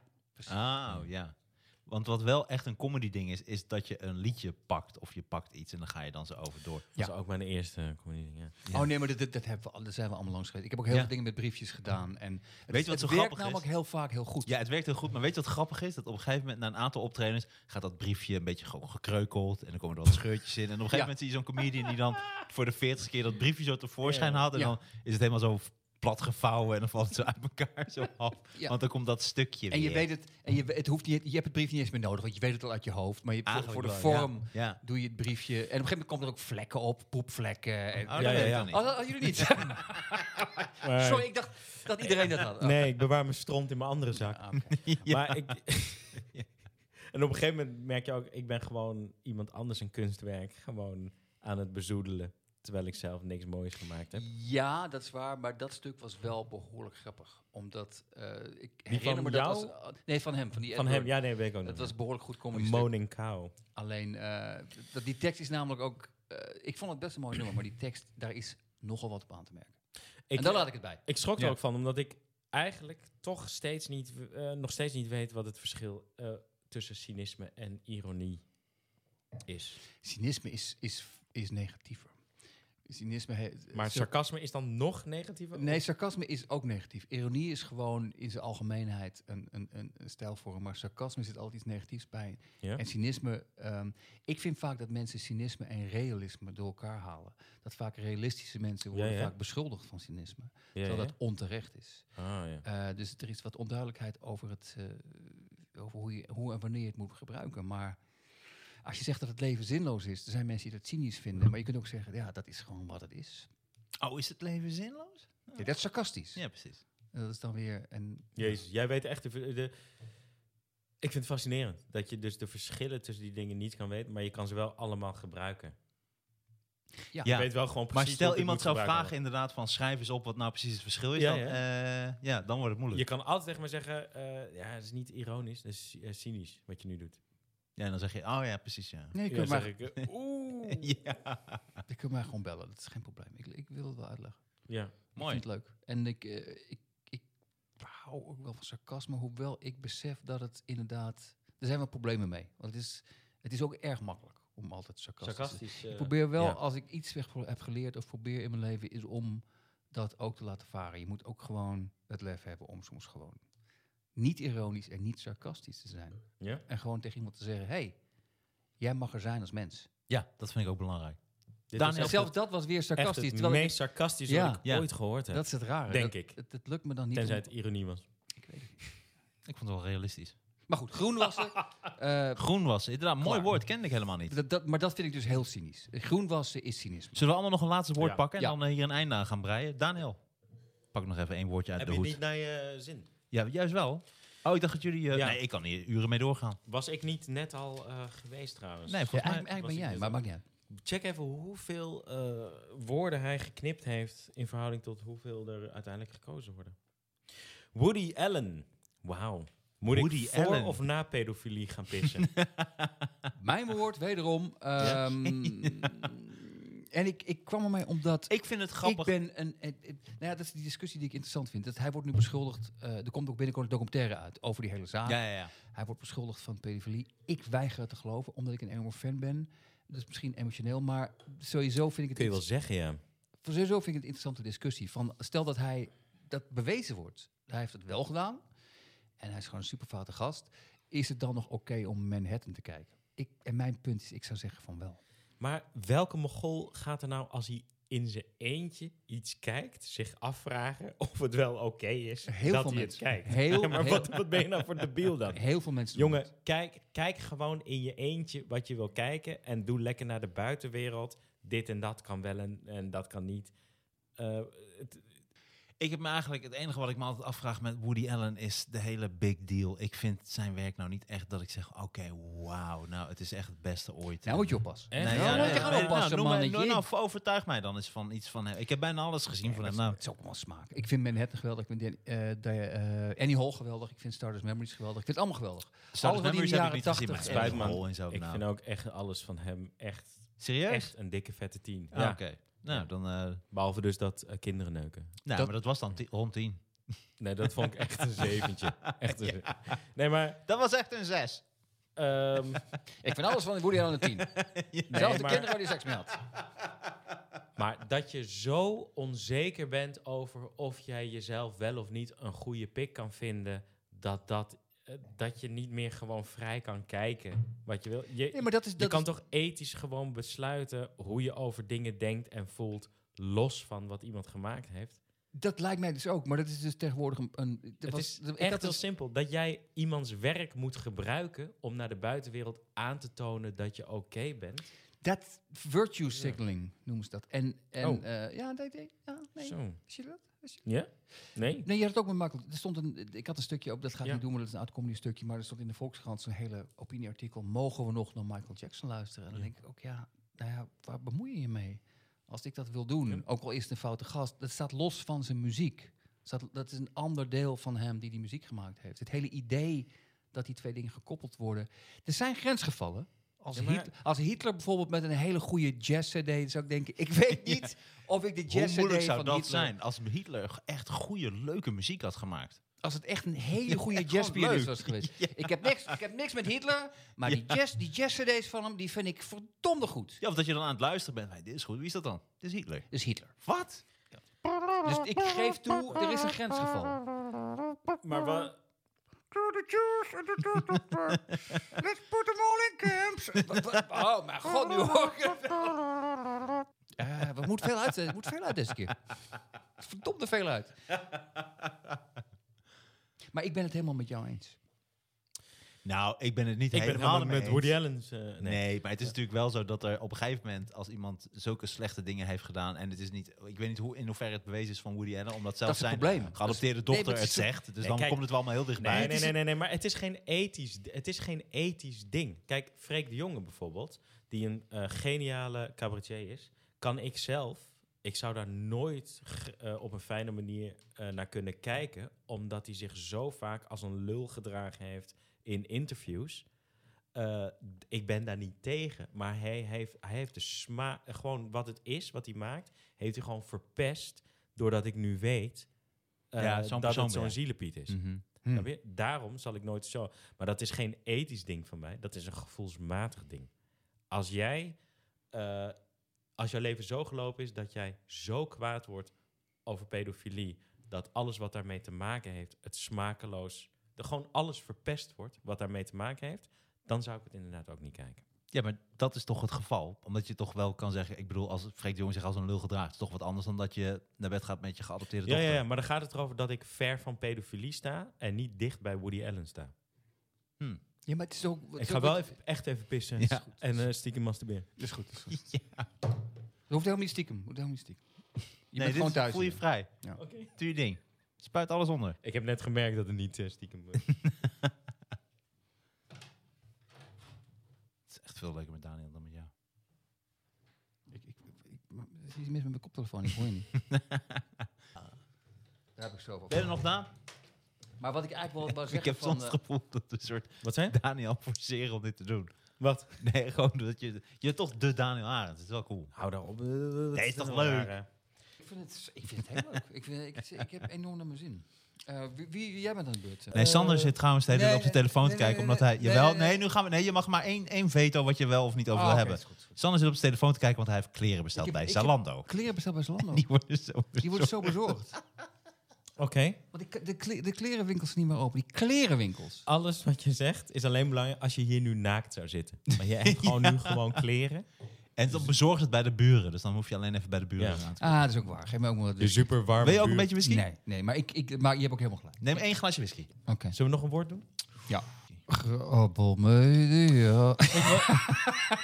[SPEAKER 2] Oh, ja. Want wat wel echt een comedy ding is, is dat je een liedje pakt. Of je pakt iets en dan ga je dan zo over door.
[SPEAKER 3] Ja.
[SPEAKER 4] Dat is ook mijn eerste eh, comedy. Ja.
[SPEAKER 2] Ja.
[SPEAKER 3] Oh nee, maar dat, dat, dat hebben we, al- daar zijn we allemaal langs geweest. Ik heb ook heel
[SPEAKER 2] Ja.
[SPEAKER 3] veel dingen met briefjes gedaan. En het,
[SPEAKER 2] je wat
[SPEAKER 3] het
[SPEAKER 2] zo
[SPEAKER 3] werkt
[SPEAKER 2] grappig is?
[SPEAKER 3] namelijk heel vaak heel goed.
[SPEAKER 2] Ja, het werkt heel goed. Maar weet je wat grappig is? Dat op een gegeven moment, na een aantal optredens, gaat dat briefje een beetje gewoon gekreukeld. En dan komen er wat scheurtjes in. En op een gegeven
[SPEAKER 3] Ja.
[SPEAKER 2] moment zie je zo'n comedian die dan voor de veertigste keer dat briefje zo tevoorschijn
[SPEAKER 4] Ja.
[SPEAKER 2] haalt. En
[SPEAKER 3] Ja.
[SPEAKER 2] dan is het helemaal zo plat gevouwen en dan valt het zo uit elkaar zo af.
[SPEAKER 3] Ja.
[SPEAKER 2] Want dan komt dat stukje
[SPEAKER 3] en je
[SPEAKER 2] weer.
[SPEAKER 3] weet het, en je, we- het hoeft niet, je hebt het briefje niet eens meer nodig, want je weet het al uit je hoofd. Maar je, voor,
[SPEAKER 2] Eigenlijk
[SPEAKER 3] voor de
[SPEAKER 2] wel, ja.
[SPEAKER 3] vorm
[SPEAKER 2] Ja. Oh,
[SPEAKER 3] doe je het briefje. En op een gegeven moment komen er ook vlekken op, poepvlekken. En,
[SPEAKER 2] Oh, dat
[SPEAKER 4] Ja,
[SPEAKER 2] weet
[SPEAKER 4] ja,
[SPEAKER 2] ik
[SPEAKER 4] ja.
[SPEAKER 2] dan niet.
[SPEAKER 3] Oh, dat hadden jullie niet. Eh, Sorry, ik dacht dat iedereen dat had. Oh.
[SPEAKER 4] Nee, ik bewaar mijn stront in mijn andere zak.
[SPEAKER 3] Ah, oké.
[SPEAKER 4] Maar ik... en op een gegeven moment merk je ook, ik ben gewoon iemand anders een kunstwerk gewoon aan het bezoedelen. Terwijl ik zelf niks moois gemaakt heb.
[SPEAKER 3] Ja, dat is waar, maar dat stuk was wel behoorlijk grappig. Omdat eh, ik herinner
[SPEAKER 4] van
[SPEAKER 3] me dat
[SPEAKER 4] jou?
[SPEAKER 3] was- nee, van hem, van die
[SPEAKER 4] Van
[SPEAKER 3] Ed
[SPEAKER 4] hem,
[SPEAKER 3] Burn.
[SPEAKER 4] ja, nee, weet ik ook
[SPEAKER 3] Dat
[SPEAKER 4] niet.
[SPEAKER 3] was behoorlijk goed
[SPEAKER 4] een
[SPEAKER 3] comedy. stuk.
[SPEAKER 4] moaning cow.
[SPEAKER 3] Alleen, eh, dat, die tekst is namelijk ook... eh, ik vond het best een mooi nummer, maar die tekst, daar is nogal wat op aan te merken.
[SPEAKER 4] Ik,
[SPEAKER 3] en daar laat ik het bij.
[SPEAKER 4] ik schrok er
[SPEAKER 2] Ja.
[SPEAKER 4] ook van, omdat ik eigenlijk toch steeds niet, w- eh, nog steeds niet weet wat het verschil eh, tussen cynisme en ironie is.
[SPEAKER 3] Cynisme is, is, is negatiever. Cynisme... he-
[SPEAKER 4] Maar
[SPEAKER 3] sar-
[SPEAKER 4] sarcasme is dan nog negatiever?
[SPEAKER 3] Nee, sarcasme is ook negatief. Ironie is gewoon in zijn algemeenheid een, een, een, een stijlvorm. Maar sarcasme zit altijd iets negatiefs bij.
[SPEAKER 4] Ja?
[SPEAKER 3] En cynisme... ehm, ik vind vaak dat mensen cynisme en realisme door elkaar halen. Dat vaak realistische mensen worden
[SPEAKER 4] ja.
[SPEAKER 3] vaak beschuldigd van cynisme.
[SPEAKER 4] Ja,
[SPEAKER 3] terwijl
[SPEAKER 4] ja?
[SPEAKER 3] dat onterecht is.
[SPEAKER 4] Ah, ja.
[SPEAKER 3] Eh, dus er is wat onduidelijkheid over, het, eh, over hoe, je, hoe en wanneer je het moet gebruiken. Maar als je zegt dat het leven zinloos is, er zijn mensen die dat cynisch vinden. Maar je kunt ook zeggen, ja, dat is gewoon wat het is.
[SPEAKER 2] Oh, is het leven zinloos?
[SPEAKER 3] Ja, dat is sarcastisch.
[SPEAKER 2] Ja, precies.
[SPEAKER 3] Dat is dan weer een...
[SPEAKER 4] Jezus, jij weet echt... De, ver- de- ik vind het fascinerend dat je dus de verschillen tussen die dingen niet kan weten, maar je kan ze wel allemaal gebruiken.
[SPEAKER 3] Ja.
[SPEAKER 4] Je weet wel gewoon precies
[SPEAKER 2] Maar
[SPEAKER 4] hoe
[SPEAKER 2] stel
[SPEAKER 4] ik het
[SPEAKER 2] iemand
[SPEAKER 4] moet
[SPEAKER 2] zou
[SPEAKER 4] gebruiken.
[SPEAKER 2] vragen inderdaad van schrijf eens op wat nou precies het verschil is.
[SPEAKER 4] Ja,
[SPEAKER 2] dan, eh, ja, dan wordt het moeilijk.
[SPEAKER 4] Je kan altijd tegen me zeggen, eh, ja, het is niet ironisch, het is eh, cynisch wat je nu doet.
[SPEAKER 2] Ja, dan zeg je, oh ja, precies ja.
[SPEAKER 3] Nee, je
[SPEAKER 4] Ja,
[SPEAKER 3] kunt,
[SPEAKER 4] zeg
[SPEAKER 3] mij,
[SPEAKER 4] ik, eh, oeh.
[SPEAKER 2] Ja,
[SPEAKER 3] je kunt mij gewoon bellen. Dat is geen probleem. Ik, ik wil het wel uitleggen.
[SPEAKER 4] Ja.
[SPEAKER 2] mooi.
[SPEAKER 3] Ik vind het leuk. En ik, eh, ik, ik hou ook wel van sarcasme, hoewel ik besef dat het inderdaad... Er zijn wel problemen mee. Want het is, het is ook erg makkelijk om altijd sarcastisch te zijn.
[SPEAKER 4] Sarcastisch. eh,
[SPEAKER 3] Ik probeer wel,
[SPEAKER 4] ja.
[SPEAKER 3] als ik iets weg pro- heb geleerd of probeer in mijn leven, is om dat ook te laten varen. Je moet ook gewoon het lef hebben om soms gewoon niet ironisch en niet sarcastisch te zijn.
[SPEAKER 4] Ja?
[SPEAKER 3] En gewoon tegen iemand te zeggen, hey, jij mag er zijn als mens.
[SPEAKER 2] Ja, dat vind ik ook belangrijk. Daan
[SPEAKER 4] Dit was
[SPEAKER 3] En
[SPEAKER 2] Heel
[SPEAKER 3] zelfs
[SPEAKER 4] echt
[SPEAKER 3] dat was weer
[SPEAKER 4] het- echt
[SPEAKER 3] sarcastisch.
[SPEAKER 4] het
[SPEAKER 3] terwijl ik-
[SPEAKER 4] meest sarcastische
[SPEAKER 3] Ja.
[SPEAKER 4] wat ik
[SPEAKER 2] Ja.
[SPEAKER 4] ooit gehoord heb.
[SPEAKER 3] dat is het rare.
[SPEAKER 4] Denk
[SPEAKER 3] dat-
[SPEAKER 4] ik.
[SPEAKER 3] Het, het lukt me dan niet.
[SPEAKER 4] Tenzij
[SPEAKER 3] om-
[SPEAKER 4] het ironie was.
[SPEAKER 3] ik weet het niet.
[SPEAKER 2] Ik vond het wel realistisch.
[SPEAKER 3] Maar goed, groen wassen. eh,
[SPEAKER 2] Groen was, inderdaad, mooi
[SPEAKER 3] Klaar.
[SPEAKER 2] woord, kende ik helemaal niet.
[SPEAKER 3] dat, dat, maar dat vind ik dus heel cynisch. Groen wassen is cynisme.
[SPEAKER 2] Zullen we allemaal nog een laatste woord
[SPEAKER 4] Ja.
[SPEAKER 2] pakken en
[SPEAKER 3] Ja.
[SPEAKER 2] dan eh, hier een einde aan gaan breien? Daniel, pak nog even één woordje uit
[SPEAKER 4] heb
[SPEAKER 2] de
[SPEAKER 4] je
[SPEAKER 2] hoed.
[SPEAKER 4] niet naar je zin?
[SPEAKER 2] Ja, juist wel. Oh, ik dacht dat jullie... eh,
[SPEAKER 4] Ja.
[SPEAKER 2] Nee, ik kan hier uren mee doorgaan.
[SPEAKER 4] Was ik niet net al eh, geweest trouwens?
[SPEAKER 2] Nee,
[SPEAKER 3] Ja,
[SPEAKER 2] volgens mij...
[SPEAKER 3] eigenlijk, eigenlijk
[SPEAKER 4] was
[SPEAKER 3] ben
[SPEAKER 4] ik dus
[SPEAKER 3] jij,
[SPEAKER 4] dit
[SPEAKER 3] maar
[SPEAKER 4] al.
[SPEAKER 3] maakt niet uit.
[SPEAKER 4] Check even hoeveel eh, woorden hij geknipt heeft in verhouding tot hoeveel er uiteindelijk gekozen worden. Woody Allen. Wauw. Moet
[SPEAKER 2] Woody
[SPEAKER 4] ik voor
[SPEAKER 2] Allen.
[SPEAKER 4] of na pedofilie gaan pissen?
[SPEAKER 3] Mijn woord, wederom. ehm, En ik, ik kwam ermee omdat
[SPEAKER 2] Ik vind het
[SPEAKER 3] Ik
[SPEAKER 2] grappig.
[SPEAKER 3] ben een. een- een- nou ja, dat is die discussie die ik interessant vind. Dat hij wordt nu beschuldigd. eh, er komt ook binnenkort een documentaire uit over die hele zaak.
[SPEAKER 2] Ja, ja, ja.
[SPEAKER 3] Hij wordt beschuldigd van pedofilie. Ik weiger het te geloven, omdat ik een enorme fan ben. Dat is misschien emotioneel, maar sowieso vind ik
[SPEAKER 4] Kun je
[SPEAKER 3] het,
[SPEAKER 4] wel zeggen, ja.
[SPEAKER 3] sowieso vind ik het een interessante discussie. Van, stel dat hij dat bewezen wordt. Hij heeft het wel gedaan. En hij is gewoon een superfoute gast. Is het dan nog oké om Manhattan te kijken? Ik, en mijn punt is, ik zou zeggen van wel.
[SPEAKER 4] Maar welke mogol gaat er nou als hij in zijn eentje iets kijkt, zich afvragen of het wel oké is
[SPEAKER 3] Heel
[SPEAKER 4] dat
[SPEAKER 3] veel mensen.
[SPEAKER 4] hij het kijkt?
[SPEAKER 3] Heel-
[SPEAKER 4] Ja, maar
[SPEAKER 3] heel-
[SPEAKER 4] wat, wat ben je nou voor debiel dan?
[SPEAKER 3] Heel veel mensen doen
[SPEAKER 4] Jongen,
[SPEAKER 3] het.
[SPEAKER 4] kijk, kijk gewoon in je eentje wat je wil kijken en doe lekker naar de buitenwereld. Dit en dat kan wel en, en dat kan niet. Eh, het-
[SPEAKER 2] Ik heb me eigenlijk het enige wat ik me altijd afvraag met Woody Allen is de hele big deal. Ik vind zijn werk nou niet echt dat ik zeg: oké, wauw, nou het is echt het beste ooit.
[SPEAKER 3] Nou moet je oppassen.
[SPEAKER 4] Echt?
[SPEAKER 2] Nee,
[SPEAKER 4] Nou,
[SPEAKER 2] ja,
[SPEAKER 4] moet
[SPEAKER 2] nee,
[SPEAKER 4] je gaan
[SPEAKER 2] nee,
[SPEAKER 3] oppassen,
[SPEAKER 2] nou, noem maar-
[SPEAKER 3] mannetje.
[SPEAKER 2] nou, nou, overtuig mij dan eens van iets van hem. Ik heb bijna alles gezien van hem. Nou,
[SPEAKER 3] Het is ook allemaal smaak. Ik vind Manhattan geweldig. Ik vind eh eh, Annie Hall geweldig. Ik vind Stardust Memories geweldig. Ik vind het allemaal geweldig.
[SPEAKER 2] Stardust
[SPEAKER 3] wat die
[SPEAKER 2] Memories
[SPEAKER 3] in de
[SPEAKER 2] heb ik
[SPEAKER 3] jaren
[SPEAKER 2] niet gezien, maar
[SPEAKER 3] 80
[SPEAKER 4] spijt me.
[SPEAKER 2] Spijtman en zo.
[SPEAKER 4] ik
[SPEAKER 2] nou.
[SPEAKER 4] vind ook echt alles van hem echt,
[SPEAKER 2] Serieus?
[SPEAKER 4] echt een dikke vette tien.
[SPEAKER 2] Ah,
[SPEAKER 4] Ja.
[SPEAKER 2] Oké. Nou, dan. eh, nou,
[SPEAKER 4] Behalve dus dat eh, kinderen neuken.
[SPEAKER 3] Dat-
[SPEAKER 2] maar dat was dan ti- rond 10.
[SPEAKER 4] Nee, dat vond ik echt een zeventje. Echt een ze- Nee, maar...
[SPEAKER 2] Dat was echt een 6.
[SPEAKER 4] ehm,
[SPEAKER 3] Ik vind alles van Woody Allen een tien. Zelfs de
[SPEAKER 4] maar-
[SPEAKER 3] kinderen die seks meldt.
[SPEAKER 4] Maar dat je zo onzeker bent over of jij jezelf wel of niet een goede pik kan vinden, dat, dat, eh, dat je niet meer gewoon vrij kan kijken wat je wil. Je,
[SPEAKER 3] Nee, maar dat is...
[SPEAKER 4] je
[SPEAKER 3] Dat
[SPEAKER 4] kan
[SPEAKER 3] is-
[SPEAKER 4] toch ethisch gewoon besluiten hoe je over dingen denkt en voelt, los van wat iemand gemaakt heeft.
[SPEAKER 3] Dat lijkt mij dus ook. Maar dat is dus tegenwoordig een... een dat
[SPEAKER 4] Het
[SPEAKER 3] was-
[SPEAKER 4] is
[SPEAKER 3] dat- ik had
[SPEAKER 4] echt heel
[SPEAKER 3] dus-
[SPEAKER 4] simpel. Dat jij iemands werk moet gebruiken om naar de buitenwereld aan te tonen dat je oké bent.
[SPEAKER 3] Dat virtue signaling noemen ze dat. En, en
[SPEAKER 4] Oh.
[SPEAKER 3] eh, ja, nee, nee, ja, nee.
[SPEAKER 4] Zo.
[SPEAKER 3] Wist je dat? Wist je-
[SPEAKER 4] Ja? Nee?
[SPEAKER 3] Nee, je had het ook met Michael. Er stond een, ik had een stukje op, dat ga ik
[SPEAKER 4] Ja.
[SPEAKER 3] niet doen, maar dat is een oud comedy stukje. Maar er stond in de Volkskrant zo'n hele opinieartikel. Mogen we nog naar Michael Jackson luisteren? En dan
[SPEAKER 4] Ja.
[SPEAKER 3] denk ik ook, ja, nou ja, waar bemoei je je mee? Als ik dat wil doen,
[SPEAKER 4] Ja.
[SPEAKER 3] ook al is het een foute gast, dat staat los van zijn muziek. Staat, dat is een ander deel van hem die die muziek gemaakt heeft. Het hele idee dat die twee dingen gekoppeld worden. Er zijn grensgevallen. Als,
[SPEAKER 4] Ja, maar-
[SPEAKER 3] Hitler, als Hitler bijvoorbeeld met een hele goede jazz-cd zou ik denken... ik weet niet of ik de
[SPEAKER 2] Hoe
[SPEAKER 3] jazz-cd van
[SPEAKER 2] moeilijk zou dat
[SPEAKER 3] Hitler-
[SPEAKER 2] zijn als Hitler g- echt goede, leuke muziek had gemaakt?
[SPEAKER 3] als het echt een hele goede
[SPEAKER 2] echt
[SPEAKER 3] jazzpianist
[SPEAKER 2] leuk.
[SPEAKER 3] was geweest. Ik, heb niks, ik heb niks met Hitler, maar die jazz, die jazz-cd's van hem, die vind ik verdomde goed.
[SPEAKER 2] Ja, of dat je dan aan het luisteren bent. Hey, dit is goed. Wie is dat dan? Dit is Hitler.
[SPEAKER 3] Dus Hitler.
[SPEAKER 2] Wat?
[SPEAKER 3] Dus ik geef toe, er is een grensgeval.
[SPEAKER 4] Maar wat...
[SPEAKER 6] Let's put them all in camps.
[SPEAKER 3] Wat- wat- Oh, mijn god, nu hoor ik het wel. Eh, we moeten veel uit, eh, er moet veel uit deze keer. Verdomde veel uit. Maar ik ben het helemaal met jou eens.
[SPEAKER 2] Nou, ik ben het niet
[SPEAKER 4] Ik ben
[SPEAKER 2] helemaal
[SPEAKER 4] helemaal
[SPEAKER 2] mee
[SPEAKER 4] met
[SPEAKER 2] eens.
[SPEAKER 4] Woody Allen's... eh,
[SPEAKER 2] Nee. maar het is natuurlijk wel zo dat er op een gegeven moment, als iemand zulke slechte dingen heeft gedaan, en het is niet, ik weet niet hoe, in hoeverre het bewezen is van Woody Allen, omdat zelfs
[SPEAKER 3] is het
[SPEAKER 2] zijn
[SPEAKER 3] probleem.
[SPEAKER 2] geadopteerde
[SPEAKER 3] maar
[SPEAKER 2] dochter
[SPEAKER 3] het
[SPEAKER 2] het,
[SPEAKER 3] is zo-
[SPEAKER 2] zegt, dus
[SPEAKER 4] Nee,
[SPEAKER 2] dan
[SPEAKER 4] kijk,
[SPEAKER 2] komt het wel allemaal heel
[SPEAKER 4] Nee,
[SPEAKER 2] dichtbij.
[SPEAKER 4] nee, nee, nee, nee, maar het is geen ethisch, het is geen ethisch ding. Kijk, Freek de Jonge bijvoorbeeld, die een eh, geniale cabaretier is, kan ik zelf, ik zou daar nooit g- eh, op een fijne manier eh, naar kunnen kijken, omdat hij zich zo vaak als een lul gedragen heeft in interviews. Eh, d- ik ben daar niet tegen, maar hij heeft, hij heeft de smaak, gewoon wat het is, wat hij maakt, heeft hij gewoon verpest, doordat ik nu weet eh,
[SPEAKER 2] Ja, zo'n
[SPEAKER 4] dat
[SPEAKER 2] persoon
[SPEAKER 4] het
[SPEAKER 2] ben jij.
[SPEAKER 4] zo'n zielepiet is.
[SPEAKER 2] Mhm.
[SPEAKER 4] Snap je? Daarom zal ik nooit zo. Maar dat is geen ethisch ding van mij. Dat is een gevoelsmatig ding. Als jij. eh, als jouw leven zo gelopen is dat jij zo kwaad wordt over pedofilie. dat alles wat daarmee te maken heeft. het smakeloos. dat gewoon alles verpest wordt wat daarmee te maken heeft. dan zou ik het inderdaad ook niet kijken.
[SPEAKER 2] Ja, maar dat is toch het geval. Omdat je toch wel kan zeggen, ik bedoel, als Freek de Jong zich als een lul gedraagt, is toch wat anders dan dat je naar bed gaat met je geadopteerde
[SPEAKER 4] Ja,
[SPEAKER 2] dochter.
[SPEAKER 4] ja, ja, maar dan gaat het erover dat ik ver van pedofilie sta. en niet dicht bij Woody Allen sta.
[SPEAKER 3] Ja, maar het is ook...
[SPEAKER 4] Ik ga wel even, echt even pissen.
[SPEAKER 2] Ja.
[SPEAKER 4] En eh, stiekem masturberen.
[SPEAKER 3] Is goed, is goed. Dat hoeft helemaal niet stiekem. hoeft helemaal niet stiekem. Je
[SPEAKER 2] nee,
[SPEAKER 3] bent
[SPEAKER 2] dit
[SPEAKER 3] gewoon
[SPEAKER 2] is-
[SPEAKER 3] thuis.
[SPEAKER 2] voel je
[SPEAKER 3] hier.
[SPEAKER 2] vrij.
[SPEAKER 3] Ja.
[SPEAKER 4] Oké.
[SPEAKER 2] Doe je ding. Spuit alles onder.
[SPEAKER 4] Ik heb net gemerkt dat het niet eh, stiekem. eh,
[SPEAKER 2] Het is echt veel leuker met Daniel dan met jou.
[SPEAKER 3] iets mis met mijn koptelefoon, ik hoor je niet. Daar heb ik zoveel
[SPEAKER 2] Ben je
[SPEAKER 3] van.
[SPEAKER 2] er nog na?
[SPEAKER 3] Maar wat ik eigenlijk wel wou
[SPEAKER 2] Ik
[SPEAKER 3] zeggen
[SPEAKER 2] heb
[SPEAKER 3] van...
[SPEAKER 2] soms het
[SPEAKER 3] eh,
[SPEAKER 2] gevoel dat een soort
[SPEAKER 4] Wat zijn?
[SPEAKER 2] Daniel forceren om dit te doen.
[SPEAKER 4] Wat?
[SPEAKER 2] Nee, gewoon dat je... Je hebt toch de Daniel Arendt. Dat is wel cool.
[SPEAKER 4] Hou daarop.
[SPEAKER 2] is
[SPEAKER 4] Nee,
[SPEAKER 2] toch leuk?
[SPEAKER 3] ik, vind het, ik vind het heel leuk. Ik, vind, ik, ik heb enorm naar mijn zin. Eh, wie, wie, jij bent aan het beurt. eh.
[SPEAKER 2] Nee, Sander zit trouwens de hele
[SPEAKER 3] nee,
[SPEAKER 2] tijd op zijn
[SPEAKER 3] nee,
[SPEAKER 2] telefoon
[SPEAKER 3] nee,
[SPEAKER 2] te kijken.
[SPEAKER 3] nee,
[SPEAKER 2] Omdat
[SPEAKER 3] nee,
[SPEAKER 2] hij...
[SPEAKER 3] nee,
[SPEAKER 2] Jawel,
[SPEAKER 3] nee, nee.
[SPEAKER 2] nee, nu gaan we... Nee, je mag maar één, één veto wat je wel of niet over wil
[SPEAKER 3] Ah, oké,
[SPEAKER 2] hebben.
[SPEAKER 3] is goed, is goed.
[SPEAKER 2] Sander zit op zijn telefoon te kijken, want hij heeft kleren besteld
[SPEAKER 3] Ik heb-
[SPEAKER 2] bij
[SPEAKER 3] ik heb-
[SPEAKER 2] Zalando.
[SPEAKER 3] Kleren besteld bij Zalando.
[SPEAKER 2] Die worden zo...
[SPEAKER 3] Die worden zo bezorgd.
[SPEAKER 4] Oké.
[SPEAKER 3] Want ik- de, kle- de klerenwinkels zijn niet meer open. Die klerenwinkels.
[SPEAKER 4] Alles wat je zegt is alleen belangrijk als je hier nu naakt zou zitten. Maar je hebt gewoon nu gewoon kleren.
[SPEAKER 2] En dan bezorgt het bij de buren. Dus dan hoef je alleen even bij de buren
[SPEAKER 4] Ja.
[SPEAKER 2] aan te
[SPEAKER 3] Ah, dat is ook waar. Geef me ook maar wat
[SPEAKER 4] De
[SPEAKER 2] Dus
[SPEAKER 3] whisky.
[SPEAKER 4] super warme
[SPEAKER 2] Wil je ook een beetje whisky?
[SPEAKER 3] Ah, Nee, nee maar, ik, ik, maar je hebt ook helemaal gelijk.
[SPEAKER 2] Neem één glaasje whisky.
[SPEAKER 3] Oké.
[SPEAKER 4] Zullen we nog een woord doen?
[SPEAKER 3] Ja. Grabbelmedia.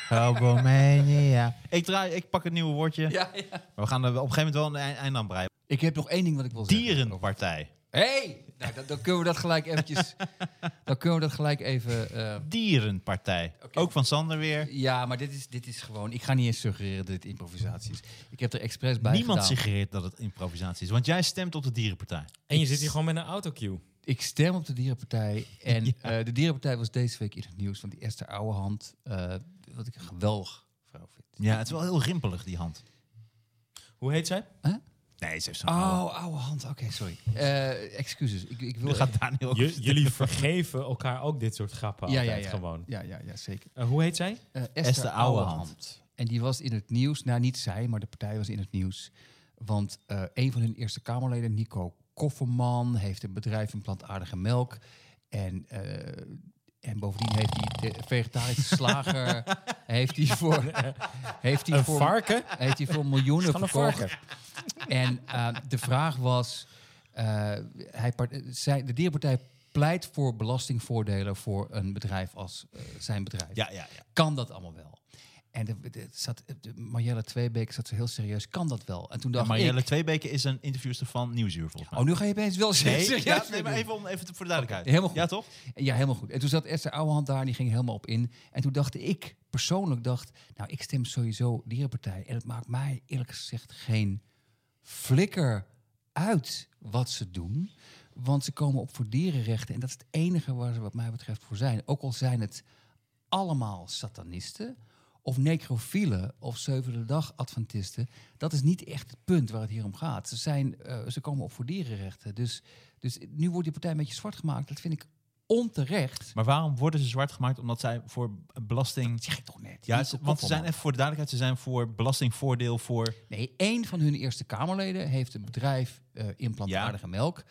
[SPEAKER 2] Hobomania. Ik, draai, ik pak een nieuw woordje.
[SPEAKER 3] Ja, ja.
[SPEAKER 2] Maar we gaan er op een gegeven moment wel een eind- eind aan breien.
[SPEAKER 3] Ik heb nog één ding wat ik wil zeggen.
[SPEAKER 2] Dierenpartij.
[SPEAKER 3] Hé! Hey! Nou, dan, dan kunnen we dat gelijk eventjes... dan kunnen we dat gelijk even... eh,
[SPEAKER 2] Dierenpartij.
[SPEAKER 3] Oké.
[SPEAKER 2] Ook van Sander weer.
[SPEAKER 3] ja, maar dit is, dit is gewoon... Ik ga niet eens suggereren dat dit improvisatie is. Ik heb er expres bij
[SPEAKER 2] Niemand
[SPEAKER 3] gedaan.
[SPEAKER 2] suggereert dat het improvisatie is. Want jij stemt op de dierenpartij.
[SPEAKER 4] En je zit hier gewoon met een autocue.
[SPEAKER 3] Ik stem op de Dierenpartij. En eh, de Dierenpartij was deze week in het nieuws. Want die Esther Ouwehand, eh wat ik een geweldig vrouw vind.
[SPEAKER 2] Ja, het is wel heel rimpelig, die hand.
[SPEAKER 4] Hoe heet zij?
[SPEAKER 2] Nee, ze heeft zo'n...
[SPEAKER 3] Oh, Ouwehand. Oké, sorry. Eh, excuses. Ik, ik wil...
[SPEAKER 2] Dan gaat Daniel ook...
[SPEAKER 4] J- jullie vergeven elkaar ook dit soort grappen
[SPEAKER 3] ja, ja,
[SPEAKER 4] altijd
[SPEAKER 3] ja.
[SPEAKER 4] gewoon.
[SPEAKER 3] Ja, ja, ja, zeker.
[SPEAKER 4] Eh, hoe heet zij?
[SPEAKER 3] Eh,
[SPEAKER 2] Esther Ouwehand.
[SPEAKER 3] En die was in het nieuws, nou niet zij, maar de partij was in het nieuws. Want eh, een van hun Eerste Kamerleden, Nico Kofferman, heeft een bedrijf in plantaardige melk. En, eh, en bovendien heeft hij de vegetarische slager, heeft hij voor, eh, heeft hij
[SPEAKER 4] Een
[SPEAKER 3] voor,
[SPEAKER 4] varken?
[SPEAKER 3] heeft hij voor miljoenen
[SPEAKER 4] Van een
[SPEAKER 3] verkocht.
[SPEAKER 4] varken.
[SPEAKER 3] En eh, de vraag was: eh, hij part- eh, zij, de Dierenpartij pleit voor belastingvoordelen voor een bedrijf als eh, zijn bedrijf.
[SPEAKER 2] Ja, ja, ja.
[SPEAKER 3] Kan dat allemaal wel? En de, de- zat, de Marjelle Tweebeek zat zo heel serieus: kan dat wel? En toen dacht
[SPEAKER 2] Marielle
[SPEAKER 3] ik.
[SPEAKER 2] Tweebeke is een interviewster van Nieuwsuur, volgens mij.
[SPEAKER 3] Oh, nu ga je opeens wel
[SPEAKER 2] Nee,
[SPEAKER 3] serieus.
[SPEAKER 2] ja, nee,
[SPEAKER 3] weer
[SPEAKER 2] maar
[SPEAKER 3] doen.
[SPEAKER 2] even, om, even te- voor de duidelijkheid.
[SPEAKER 3] helemaal goed.
[SPEAKER 2] Ja, toch?
[SPEAKER 3] Ja, helemaal goed. En toen zat Esther Ouwehand daar en die ging helemaal op in. En toen dacht ik, persoonlijk dacht, nou, ik stem sowieso Dierenpartij. En het maakt mij eerlijk gezegd geen flikker uit wat ze doen. Want ze komen op voor dierenrechten. En dat is het enige waar ze wat mij betreft voor zijn. Ook al zijn het allemaal satanisten of necrofielen of zevende dag adventisten. Dat is niet echt het punt waar het hier om gaat. Ze, zijn, eh, ze komen op voor dierenrechten. Dus, dus nu wordt die partij een beetje zwart gemaakt. Dat vind ik onterecht.
[SPEAKER 2] Maar waarom worden ze zwart gemaakt? Omdat zij voor belasting...
[SPEAKER 3] Dat zeg ik toch net.
[SPEAKER 2] Ja,
[SPEAKER 3] Nico
[SPEAKER 2] ze- want ze zijn
[SPEAKER 3] Kofferman.
[SPEAKER 2] even voor de duidelijkheid, ze zijn voor belastingvoordeel voor...
[SPEAKER 3] Nee, één van hun Eerste Kamerleden heeft een bedrijf eh in plantaardige melk.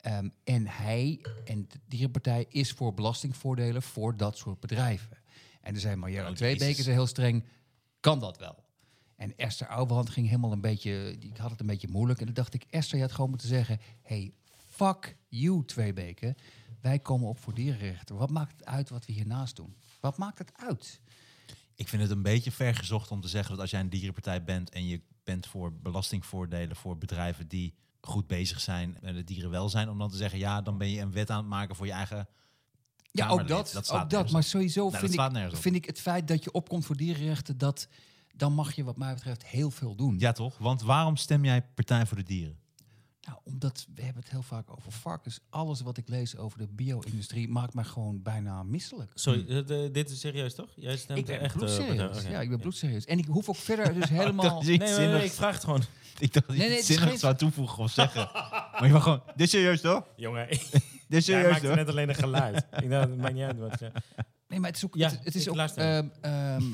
[SPEAKER 3] Ehm, en hij en de Dierenpartij is voor belastingvoordelen voor dat soort bedrijven. En er zijn Marjelle
[SPEAKER 2] Oh,
[SPEAKER 3] Tweebeke
[SPEAKER 2] Jezus.
[SPEAKER 3] ze heel streng, kan dat wel? En Esther Ouwehand ging helemaal een beetje, die had het een beetje moeilijk. En toen dacht ik, Esther, je had gewoon moeten zeggen, hey, fuck you Tweebeke. Wij komen op voor dierenrechten. Wat maakt het uit wat we hiernaast doen? Wat maakt het uit?
[SPEAKER 2] Ik vind het een beetje ver gezocht om te zeggen dat als jij een dierenpartij bent en je bent voor belastingvoordelen voor bedrijven die goed bezig zijn met het dierenwelzijn, om dan te zeggen, ja, dan ben je een wet aan het maken voor je eigen.
[SPEAKER 3] Ja, ook
[SPEAKER 2] Kamerlid.
[SPEAKER 3] dat.
[SPEAKER 2] Dat slaat
[SPEAKER 3] ook dat.
[SPEAKER 2] nergens
[SPEAKER 3] Maar
[SPEAKER 2] op.
[SPEAKER 3] sowieso
[SPEAKER 2] dat slaat
[SPEAKER 3] vind,
[SPEAKER 2] nergens
[SPEAKER 3] ik,
[SPEAKER 2] op.
[SPEAKER 3] vind ik het feit dat je opkomt voor dierenrechten, dat, dan mag je wat mij betreft heel veel doen.
[SPEAKER 2] Ja, toch? Want waarom stem jij Partij voor de Dieren?
[SPEAKER 3] Nou, omdat we hebben het heel vaak over varkens. Alles wat ik lees over de bio-industrie maakt mij gewoon bijna misselijk.
[SPEAKER 4] Sorry, eh, de- dit is serieus toch? Jij stemt
[SPEAKER 3] Ik ben
[SPEAKER 4] echt... eh, op het-
[SPEAKER 3] bloedserieus.
[SPEAKER 4] oké.
[SPEAKER 3] Ja, ik ben bloedserieus. En ik hoef ook verder dus helemaal...
[SPEAKER 2] Dat is iets
[SPEAKER 4] Nee, nee, nee,
[SPEAKER 2] zinnigs.
[SPEAKER 4] ik vraag het gewoon.
[SPEAKER 2] Ik dacht dat je
[SPEAKER 3] Nee, nee,
[SPEAKER 2] iets
[SPEAKER 3] het is
[SPEAKER 2] zinnigs
[SPEAKER 3] geen-
[SPEAKER 2] zou toevoegen of zeggen. maar je mag gewoon, dit is serieus toch?
[SPEAKER 4] Jongen,
[SPEAKER 2] Dit is
[SPEAKER 4] jij
[SPEAKER 2] serieus
[SPEAKER 4] maakte
[SPEAKER 2] toch?
[SPEAKER 4] net alleen een geluid. ik dacht, het maakt niet uit wat je...
[SPEAKER 3] Nee, maar het is ook...
[SPEAKER 4] Ja,
[SPEAKER 3] het, het is
[SPEAKER 4] ik
[SPEAKER 3] ook
[SPEAKER 4] luister.
[SPEAKER 3] ehm, ehm,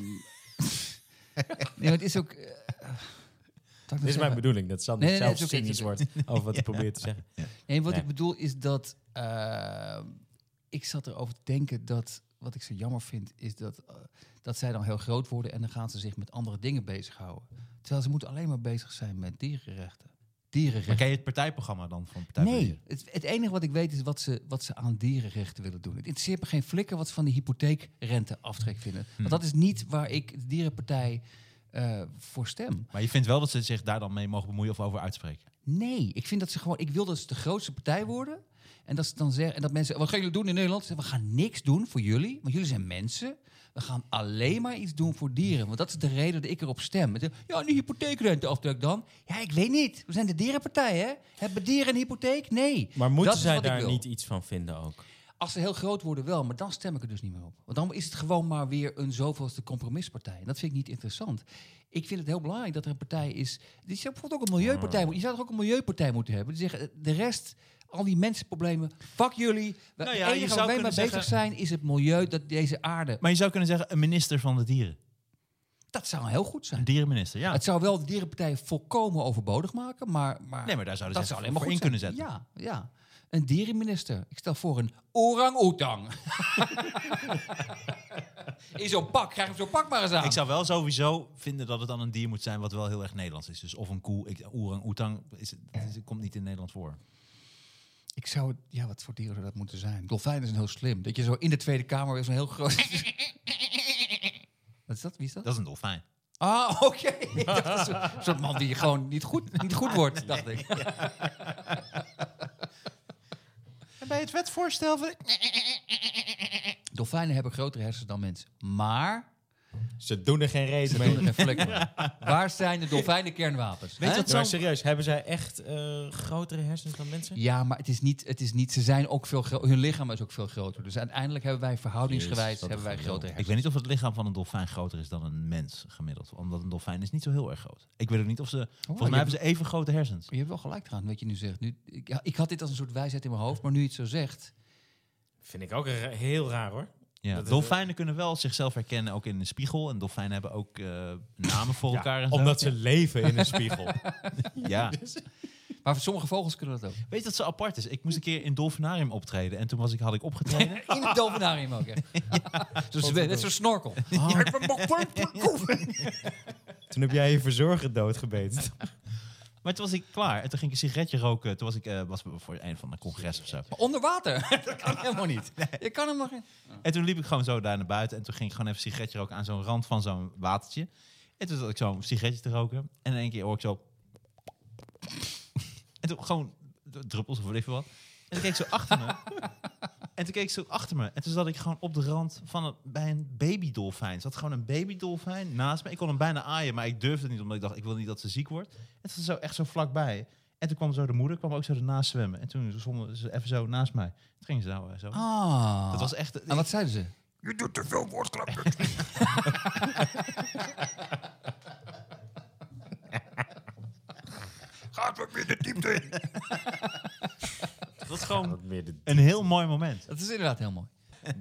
[SPEAKER 3] nee, maar het is ook... eh, wat wou ik nou
[SPEAKER 4] Dit is mijn
[SPEAKER 3] zeggen?
[SPEAKER 4] bedoeld. bedoeling, dat Sander
[SPEAKER 3] Nee, nee, nee,
[SPEAKER 4] zelf
[SPEAKER 3] het is oké,
[SPEAKER 4] cynisch
[SPEAKER 3] het
[SPEAKER 4] wordt over wat hij probeert te zeggen.
[SPEAKER 3] Nee, wat
[SPEAKER 4] Nee.
[SPEAKER 3] ik bedoel is dat eh, ik zat erover te denken dat wat ik zo jammer vind is dat, eh, dat zij dan heel groot worden en dan gaan ze zich met andere dingen bezighouden. Terwijl ze moeten alleen maar bezig zijn met dierenrechten.
[SPEAKER 2] Maar
[SPEAKER 3] Dierenrechten.
[SPEAKER 2] ken je het partijprogramma dan van Partij voor de
[SPEAKER 3] Nee,
[SPEAKER 2] Dieren?
[SPEAKER 3] het, het enige wat ik weet is wat ze, wat ze aan dierenrechten willen doen. Het interesseert me geen flikker wat ze van de hypotheekrenteaftrek vinden. Want dat is niet waar ik de dierenpartij eh, voor stem.
[SPEAKER 2] Maar je vindt wel dat ze zich daar dan mee mogen bemoeien of over uitspreken.
[SPEAKER 3] Nee, ik vind dat ze gewoon. Ik wil dat ze de grootste partij worden. En dat ze dan zeggen. En dat mensen. Wat gaan jullie doen in Nederland? Ze zeggen, we gaan niks doen voor jullie. Want jullie zijn mensen. we gaan alleen maar iets doen voor dieren. Want dat is de reden dat ik erop stem. Met de- Ja, een hypotheekrenteaftrek dan. Ja, ik weet niet. We zijn de dierenpartij, hè? Hebben dieren een hypotheek? Nee.
[SPEAKER 4] Maar moeten
[SPEAKER 3] Dat is
[SPEAKER 4] zij
[SPEAKER 3] wat ik
[SPEAKER 4] daar
[SPEAKER 3] wil.
[SPEAKER 4] niet iets van vinden ook?
[SPEAKER 3] Als ze heel groot worden wel, maar dan stem ik er dus niet meer op. Want dan is het gewoon maar weer een zoveelste compromispartij. En dat vind ik niet interessant. Ik vind het heel belangrijk dat er een partij is... Je zou bijvoorbeeld ook een
[SPEAKER 2] Ah.
[SPEAKER 3] milieupartij moeten... Je zou toch ook een milieupartij moeten hebben? Die zeggen, eh, de rest, al die mensenproblemen, fuck jullie. We-
[SPEAKER 2] Nou
[SPEAKER 3] Het
[SPEAKER 2] ja, je
[SPEAKER 3] enige
[SPEAKER 2] zou
[SPEAKER 3] waar wij mee
[SPEAKER 2] kunnen
[SPEAKER 3] bezig
[SPEAKER 2] zeggen-
[SPEAKER 3] zijn is het milieu, dat deze aarde...
[SPEAKER 2] Maar je zou kunnen zeggen, een minister van de dieren.
[SPEAKER 3] Dat zou heel goed zijn.
[SPEAKER 2] Een dierenminister, ja.
[SPEAKER 3] Ah, Het zou wel de dierenpartij volkomen overbodig maken, maar... maar
[SPEAKER 2] Nee, maar daar zouden
[SPEAKER 3] dat
[SPEAKER 2] ze zou
[SPEAKER 3] zou alleen
[SPEAKER 2] voor
[SPEAKER 3] maar goed
[SPEAKER 2] in kunnen
[SPEAKER 3] zijn.
[SPEAKER 2] zetten.
[SPEAKER 3] Ja, ja. Een dierenminister. Ik stel voor een orang-outang. In zo'n pak. Krijg hem zo'n pak maar eens aan.
[SPEAKER 2] Ik zou wel sowieso vinden dat het dan een dier moet zijn wat wel heel erg Nederlands is. Dus of een koe, ik, oerang, oetang, is, is- komt niet in Nederland voor.
[SPEAKER 3] Ik zou- Ja, wat voor dieren zou dat moeten zijn? Dolfijnen zijn heel slim. Dat je zo in de Tweede Kamer weer zo'n heel groot... wat is dat? Wie is dat?
[SPEAKER 2] Dat is een dolfijn.
[SPEAKER 3] Ah, oké. Ik dacht, dat is Een soort man die gewoon niet goed, niet goed wordt, dacht ik.
[SPEAKER 2] En bij het wetvoorstel... van-
[SPEAKER 3] Dolfijnen hebben grotere hersens dan mensen. Maar
[SPEAKER 4] Ze doen er geen reden
[SPEAKER 3] ze doen er geen vlek mee. Waar zijn de dolfijnenkernwapens?
[SPEAKER 2] Weet je
[SPEAKER 3] hè?
[SPEAKER 2] wat
[SPEAKER 4] Maar
[SPEAKER 2] zo-
[SPEAKER 4] serieus, hebben zij echt eh, grotere hersens dan mensen?
[SPEAKER 3] Ja, maar het is niet, het is niet ze zijn ook veel gro- hun lichaam is ook veel groter. Dus uiteindelijk hebben wij verhoudingsgewijs
[SPEAKER 4] Jezus, wat
[SPEAKER 3] hebben wij
[SPEAKER 4] een
[SPEAKER 3] groter
[SPEAKER 2] Ik
[SPEAKER 3] hersenen.
[SPEAKER 2] weet niet of het lichaam van een dolfijn groter is dan een mens gemiddeld. Omdat een dolfijn is niet zo heel erg groot. Ik weet ook niet of ze... volgens
[SPEAKER 3] Oh, je
[SPEAKER 2] mij hebben ze even grote hersens.
[SPEAKER 3] Je hebt wel gelijk eraan, wat je nu zegt. Nu, ik, ja, ik had dit als een soort wijsheid in mijn hoofd, maar nu je het zo zegt...
[SPEAKER 4] Vind ik ook ra- heel raar hoor.
[SPEAKER 2] Ja.
[SPEAKER 4] Dat is-
[SPEAKER 2] dolfijnen kunnen wel zichzelf herkennen, ook in de spiegel. En dolfijnen hebben ook eh, namen voor elkaar. en zo.
[SPEAKER 4] Omdat ze leven in een spiegel.
[SPEAKER 2] Ja.
[SPEAKER 4] Dus-
[SPEAKER 3] Maar voor sommige vogels kunnen dat ook.
[SPEAKER 2] Weet je dat ze apart is? Ik moest een keer in Dolfinarium optreden. En toen was ik, had ik opgetreden.
[SPEAKER 3] In het dolfinarium ook, hè. Zo'n zwe- net zo'n snorkel. Ah.
[SPEAKER 4] Toen heb jij je verzorger doodgebeten.
[SPEAKER 2] Maar toen was ik klaar. En toen ging ik een sigaretje roken. Toen was ik eh, was voor het einde van een congres of zo.
[SPEAKER 3] Maar onder water, dat kan helemaal niet. Je kan helemaal geen...
[SPEAKER 2] En toen liep ik gewoon zo daar naar buiten. En toen ging ik gewoon even een sigaretje roken aan zo'n rand van zo'n watertje. En toen zat ik zo'n sigaretje te roken. En in één keer hoor ik zo... En toen gewoon druppels of weet ik veel wat. En toen keek ik zo achter me. En toen keek ik zo achter me. En toen zat ik gewoon op de rand van een, bij een babydolfijn. Zat gewoon een babydolfijn naast me. Ik kon hem bijna aaien, maar ik durfde het niet. Omdat ik dacht, ik wil niet dat ze ziek wordt. En toen zo echt zo vlakbij. En toen kwam zo de moeder, kwam ook zo ernaast zwemmen. En toen zwommen ze even zo naast mij. Toen gingen ze nou eh, zo.
[SPEAKER 3] Ah.
[SPEAKER 2] Dat was echt...
[SPEAKER 3] En wat zeiden ze?
[SPEAKER 6] Je doet te veel woordklappen. Gaat wat meer de diepte in.
[SPEAKER 2] Dat is gewoon een heel mooi moment.
[SPEAKER 3] Dat is inderdaad heel mooi.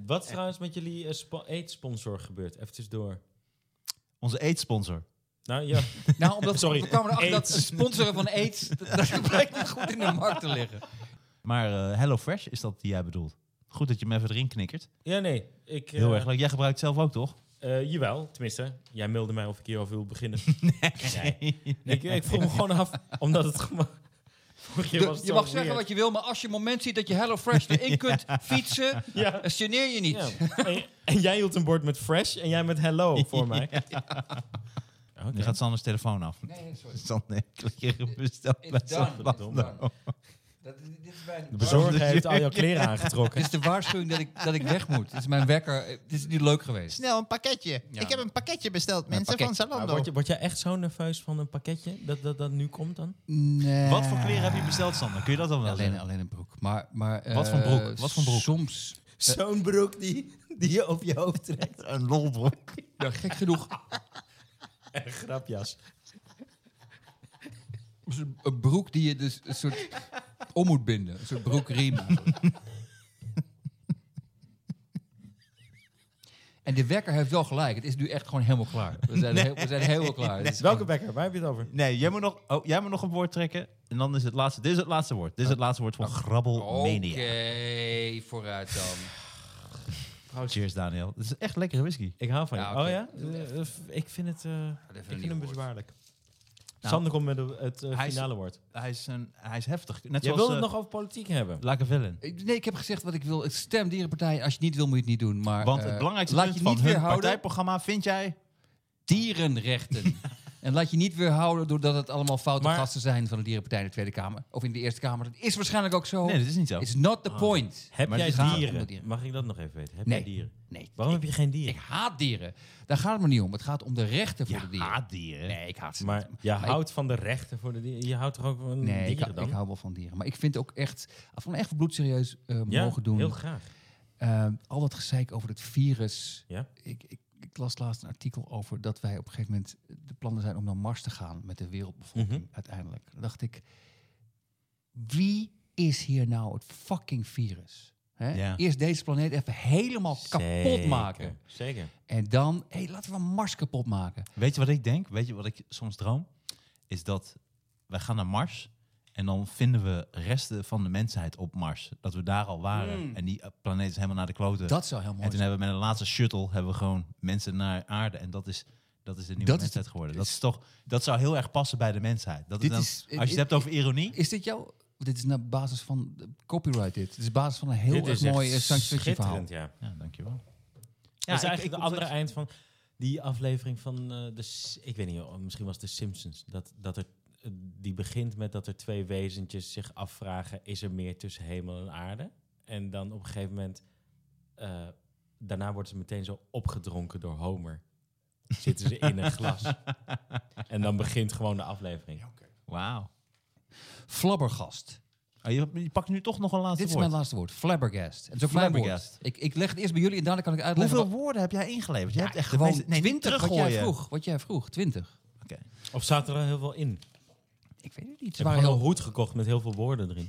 [SPEAKER 4] Wat is trouwens met jullie eh, spo- eetsponsor gebeurt? Even tussendoor.
[SPEAKER 2] Onze eetsponsor.
[SPEAKER 4] Nou ja,
[SPEAKER 3] Nou, omdat
[SPEAKER 4] Sorry,
[SPEAKER 3] we kwamen erachter dat
[SPEAKER 4] AIDS.
[SPEAKER 3] sponsoren van AIDS... dat, dat blijkt niet goed in de markt te liggen.
[SPEAKER 2] Maar eh, Hello Fresh is dat die jij bedoelt. Goed dat je me even erin knikkert.
[SPEAKER 4] ja nee. Ik, eh,
[SPEAKER 2] Heel erg leuk. Jij gebruikt zelf ook, toch?
[SPEAKER 4] eh, jawel, tenminste. Jij mailde mij of ik hierover wil beginnen. Nee. Ik, ik vroeg me gewoon af, omdat het gewoon... Vorige keer
[SPEAKER 3] De-
[SPEAKER 4] was
[SPEAKER 3] je
[SPEAKER 4] het zo
[SPEAKER 3] mag zeggen
[SPEAKER 4] weird.
[SPEAKER 3] wat je wil, maar als je een moment ziet dat je HelloFresh erin kunt fietsen,
[SPEAKER 4] Ja.
[SPEAKER 3] dan geneer je niet.
[SPEAKER 4] Ja. En, en jij hield een bord met fresh en jij met hello voor mij. Oké.
[SPEAKER 2] Nu gaat Sanders telefoon af.
[SPEAKER 3] Nee, nee, sorry.
[SPEAKER 2] Sander, klik je op bestel bij
[SPEAKER 3] It's done.
[SPEAKER 2] Sander.
[SPEAKER 3] It's done. Dat, dit is mijn
[SPEAKER 4] De bezorger
[SPEAKER 2] Waarom-
[SPEAKER 4] heeft al jouw kleren
[SPEAKER 3] Dit
[SPEAKER 4] aangetrokken.
[SPEAKER 3] is de waarschuwing dat ik, dat ik weg moet. Dit is mijn wekker. Dit is niet leuk geweest.
[SPEAKER 5] Snel een pakketje.
[SPEAKER 3] Ja.
[SPEAKER 5] Ik heb een pakketje besteld, mensen,
[SPEAKER 3] pakketje.
[SPEAKER 5] van
[SPEAKER 4] Maar
[SPEAKER 2] Oh.
[SPEAKER 5] Zalando.
[SPEAKER 4] word, je, word jij echt zo nerveus van een pakketje dat dat, dat nu komt dan?
[SPEAKER 2] Wat voor kleren heb je besteld, Sander? Kun je dat dan wel
[SPEAKER 3] Alleen,
[SPEAKER 2] zeggen?
[SPEAKER 3] alleen een broek. Maar, maar, eh,
[SPEAKER 2] Wat voor broek? Wat voor broek?
[SPEAKER 3] Soms,
[SPEAKER 5] Zo'n broek die, die je op je hoofd trekt. Een lolbroek.
[SPEAKER 3] ja, gek genoeg,
[SPEAKER 4] Een grapjas.
[SPEAKER 3] een broek die je dus een soort om moet binden. Een soort broekriem. en de wekker heeft wel gelijk. Het is nu echt gewoon helemaal klaar. We zijn, heel, we zijn helemaal klaar. Het is
[SPEAKER 4] Welke bekker? Waar heb je het over?
[SPEAKER 2] Nee, jij moet, nog, oh, jij moet nog een woord trekken. En dan is het laatste. Dit is het laatste woord. Dit is het laatste woord van
[SPEAKER 3] Oké,
[SPEAKER 2] grabbelmania.
[SPEAKER 3] vooruit dan.
[SPEAKER 2] Cheers, Daniel. Het is echt lekkere whisky.
[SPEAKER 4] Ik hou van je.
[SPEAKER 3] Ja, oké.
[SPEAKER 4] Oh ja? Eh, eh, f- ik vind het, eh, ik
[SPEAKER 3] een
[SPEAKER 4] vind
[SPEAKER 3] nieuw
[SPEAKER 4] hem
[SPEAKER 3] woord.
[SPEAKER 4] bezwaarlijk.
[SPEAKER 2] Nou,
[SPEAKER 4] Sander komt met de- het eh,
[SPEAKER 2] hij is-
[SPEAKER 4] finale woord.
[SPEAKER 2] Hij is, een, hij is heftig. Net
[SPEAKER 4] Jij
[SPEAKER 2] zoals...
[SPEAKER 3] eh,
[SPEAKER 2] eh,
[SPEAKER 4] wilde het nog over politiek hebben.
[SPEAKER 2] Lakevellen.
[SPEAKER 3] Ik- Nee, ik heb gezegd wat ik wil. Ik stem dierenpartij. Als je het niet wil, moet je het niet doen. Maar,
[SPEAKER 2] Want
[SPEAKER 3] eh,
[SPEAKER 2] het belangrijkste
[SPEAKER 3] laat
[SPEAKER 2] punt
[SPEAKER 3] je
[SPEAKER 2] van
[SPEAKER 3] niet
[SPEAKER 2] hun
[SPEAKER 3] weerhouden.
[SPEAKER 2] partijprogramma vind jij...
[SPEAKER 3] Dierenrechten. En laat je niet weerhouden doordat het allemaal foute
[SPEAKER 5] Maar-
[SPEAKER 3] gasten zijn van de Dierenpartij in de Tweede Kamer. Of in de Eerste Kamer. Dat is waarschijnlijk ook zo.
[SPEAKER 2] Nee, dat is niet zo.
[SPEAKER 3] It's not the point.
[SPEAKER 5] Ah. Heb
[SPEAKER 3] Maar
[SPEAKER 5] jij
[SPEAKER 3] het gaat om
[SPEAKER 5] dieren?
[SPEAKER 3] de
[SPEAKER 5] Mag ik dat nog even weten? Heb
[SPEAKER 3] Nee.
[SPEAKER 5] jij dieren?
[SPEAKER 3] Nee,
[SPEAKER 5] Waarom heb je geen
[SPEAKER 3] ik
[SPEAKER 5] dieren?
[SPEAKER 3] haat dieren. Daar gaat het me niet om. Het gaat om de rechten voor
[SPEAKER 2] Ja,
[SPEAKER 3] de dieren.
[SPEAKER 2] dieren.
[SPEAKER 3] Nee, ik haat ze
[SPEAKER 5] Maar
[SPEAKER 3] niet.
[SPEAKER 5] je
[SPEAKER 3] ik-
[SPEAKER 5] houdt van de rechten voor de dieren. Je houdt toch ook van
[SPEAKER 3] Nee, ik,
[SPEAKER 5] dieren
[SPEAKER 3] hou-
[SPEAKER 5] dan?
[SPEAKER 3] ik hou wel van dieren. Maar ik vind ook echt, als we echt bloedserieus eh
[SPEAKER 5] ja,
[SPEAKER 3] mogen doen.
[SPEAKER 5] heel graag.
[SPEAKER 3] Eh, al dat gezeik over het virus.
[SPEAKER 5] Ja.
[SPEAKER 3] Ik, ik, ik las laatst een artikel over dat wij op een gegeven moment eh, de plannen zijn om naar Mars te gaan met de wereldbevolking
[SPEAKER 5] Mhm.
[SPEAKER 3] uiteindelijk. Dan dacht ik, wie is hier nou het fucking virus? Hè?
[SPEAKER 2] Ja.
[SPEAKER 3] Eerst deze planeet even helemaal kapot
[SPEAKER 5] Zeker,
[SPEAKER 3] maken.
[SPEAKER 5] Zeker.
[SPEAKER 3] En dan, hé, laten we Mars kapot maken.
[SPEAKER 2] Weet je wat ik denk? Weet je wat ik soms droom? Is dat wij gaan naar Mars en dan vinden we resten van de mensheid op Mars. Dat we daar al waren en die eh, planeet is helemaal naar de kloten.
[SPEAKER 3] Dat zou heel mooi
[SPEAKER 2] en toen
[SPEAKER 3] zijn.
[SPEAKER 2] hebben we met een laatste shuttle hebben we gewoon mensen naar aarde en dat is... Dat is de nieuwe
[SPEAKER 3] Dat is
[SPEAKER 2] mensheid
[SPEAKER 3] de-
[SPEAKER 2] geworden. Dat, is toch, dat zou heel erg passen bij de mensheid. Dat is
[SPEAKER 3] Dit
[SPEAKER 2] dan,
[SPEAKER 3] is-
[SPEAKER 2] als je het hebt over ironie.
[SPEAKER 3] Is dit jouw... Dit is naar basis van eh, copyright dit. Dit is basis van een heel erg mooi eh, science fiction verhaal.
[SPEAKER 5] schitterend, ja.
[SPEAKER 2] Ja, dankjewel.
[SPEAKER 5] Ja, dat is
[SPEAKER 2] ik-
[SPEAKER 5] eigenlijk
[SPEAKER 2] ik
[SPEAKER 5] het andere eind van die aflevering van eh, de... S- Ik weet niet, oh, misschien was het de Simpsons. Dat, dat er, eh, die begint met dat er twee wezentjes zich afvragen... is er meer tussen hemel en aarde? En dan op een gegeven moment... eh, daarna worden ze meteen zo opgedronken door Homer. Zitten ze in een glas. En dan begint gewoon de aflevering.
[SPEAKER 2] Wauw.
[SPEAKER 3] Flabbergast.
[SPEAKER 2] Oh, je, je pakt nu toch nog een laatste
[SPEAKER 3] Dit is
[SPEAKER 2] woord.
[SPEAKER 3] mijn laatste woord. Flabbergast. Het is ook mijn woord.
[SPEAKER 2] Flabbergast.
[SPEAKER 3] Ik, ik leg het eerst bij jullie en daarna kan ik uitleggen...
[SPEAKER 2] Hoeveel
[SPEAKER 3] wat-
[SPEAKER 2] woorden heb jij ingeleverd? Je hebt echt
[SPEAKER 3] gewoon
[SPEAKER 2] meeste- nee, niet
[SPEAKER 3] 20 wat jij
[SPEAKER 2] teruggooien.
[SPEAKER 3] vroeg. Wat jij vroeg, 20.
[SPEAKER 2] Oké.
[SPEAKER 5] Of zaten er heel veel in? Ik
[SPEAKER 3] Ik weet het niet. Ze
[SPEAKER 5] heb
[SPEAKER 3] waren
[SPEAKER 5] gewoon een
[SPEAKER 3] heel,
[SPEAKER 5] hoed gekocht met heel veel woorden erin.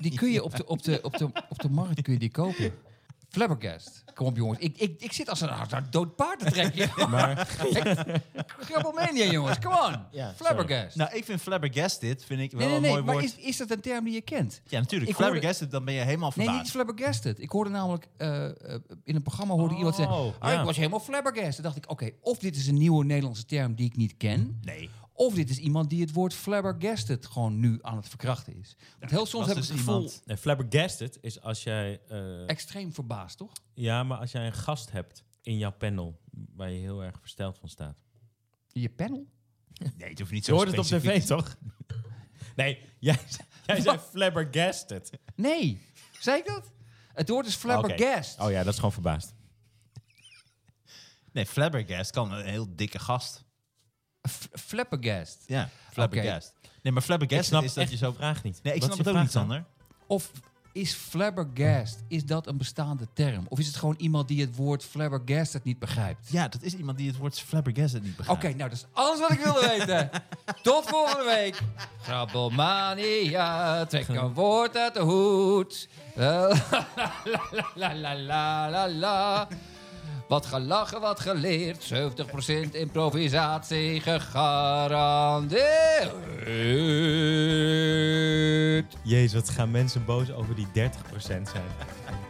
[SPEAKER 3] die kun je op de, op, de, op, de, op de markt kun je die kopen. Flabbergast. Kom op jongens. Ik, ik, ik zit als een, als een dood paard te trekken. maar... Grappelmania jongens, come on.
[SPEAKER 5] Ja,
[SPEAKER 3] Flabbergast.
[SPEAKER 2] Nou, ik vind flabbergasted vind ik wel
[SPEAKER 3] nee, nee,
[SPEAKER 2] een
[SPEAKER 3] nee.
[SPEAKER 2] mooi
[SPEAKER 3] Maar
[SPEAKER 2] woord.
[SPEAKER 3] is, is dat een term die je kent?
[SPEAKER 2] Ja, natuurlijk.
[SPEAKER 3] Ik hoorde-
[SPEAKER 2] flabbergasted, dan ben je helemaal
[SPEAKER 3] Nee,
[SPEAKER 2] verbaasd.
[SPEAKER 3] niet flabbergasted. Ik hoorde namelijk eh, eh, in een programma hoorde iemand zeggen...
[SPEAKER 5] Oh,
[SPEAKER 3] "Ah,
[SPEAKER 5] ja.
[SPEAKER 3] ik was helemaal flabbergasted. Toen dacht ik, oké, of dit is een nieuwe Nederlandse term die ik niet ken...
[SPEAKER 2] Nee.
[SPEAKER 3] of dit is iemand die het woord flabbergasted gewoon nu aan het verkrachten is. Want heel soms
[SPEAKER 2] was
[SPEAKER 3] heb ik
[SPEAKER 2] dus
[SPEAKER 3] het gevoel...
[SPEAKER 2] iemand-
[SPEAKER 5] Nee, flabbergasted is als jij... eh,
[SPEAKER 3] Extreem verbaasd, toch?
[SPEAKER 5] Ja, maar als jij een gast hebt in jouw panel waar je heel erg versteld van staat.
[SPEAKER 3] Je panel?
[SPEAKER 2] Nee, het hoeft niet
[SPEAKER 5] Je
[SPEAKER 2] zo
[SPEAKER 5] hoort het op
[SPEAKER 2] specifiek.
[SPEAKER 5] tv, toch? Nee, jij, jij zei flabbergasted.
[SPEAKER 3] Nee. Zei ik dat? Het woord is flabbergast.
[SPEAKER 5] Oh ja, dat is gewoon verbaasd.
[SPEAKER 2] Nee, flabbergast kan een heel dikke gast.
[SPEAKER 3] F- Flabbergast.
[SPEAKER 2] Ja, flabbergast. Nee, maar flabbergast is dat je zo...
[SPEAKER 5] vraag niet.
[SPEAKER 2] Nee, ik
[SPEAKER 5] Wat
[SPEAKER 2] snap
[SPEAKER 5] is
[SPEAKER 2] het
[SPEAKER 5] je
[SPEAKER 2] ook niet,
[SPEAKER 5] vraag
[SPEAKER 2] Sander.
[SPEAKER 3] Of is flabbergast, is dat een bestaande term? Of is het gewoon iemand die het woord flabbergasted niet begrijpt?
[SPEAKER 2] Ja, dat is iemand die het woord flabbergasted niet
[SPEAKER 3] Oké,
[SPEAKER 2] begrijpt.
[SPEAKER 3] nou, dat is alles wat ik wilde weten. Tot volgende week. Grabbelmania, trek een woord uit de hoed. Eh, La la la la la la. Wat gelachen, wat geleerd. 70% improvisatie gegarandeerd.
[SPEAKER 5] dan? Jezus, wat gaan mensen boos over die 30% zijn.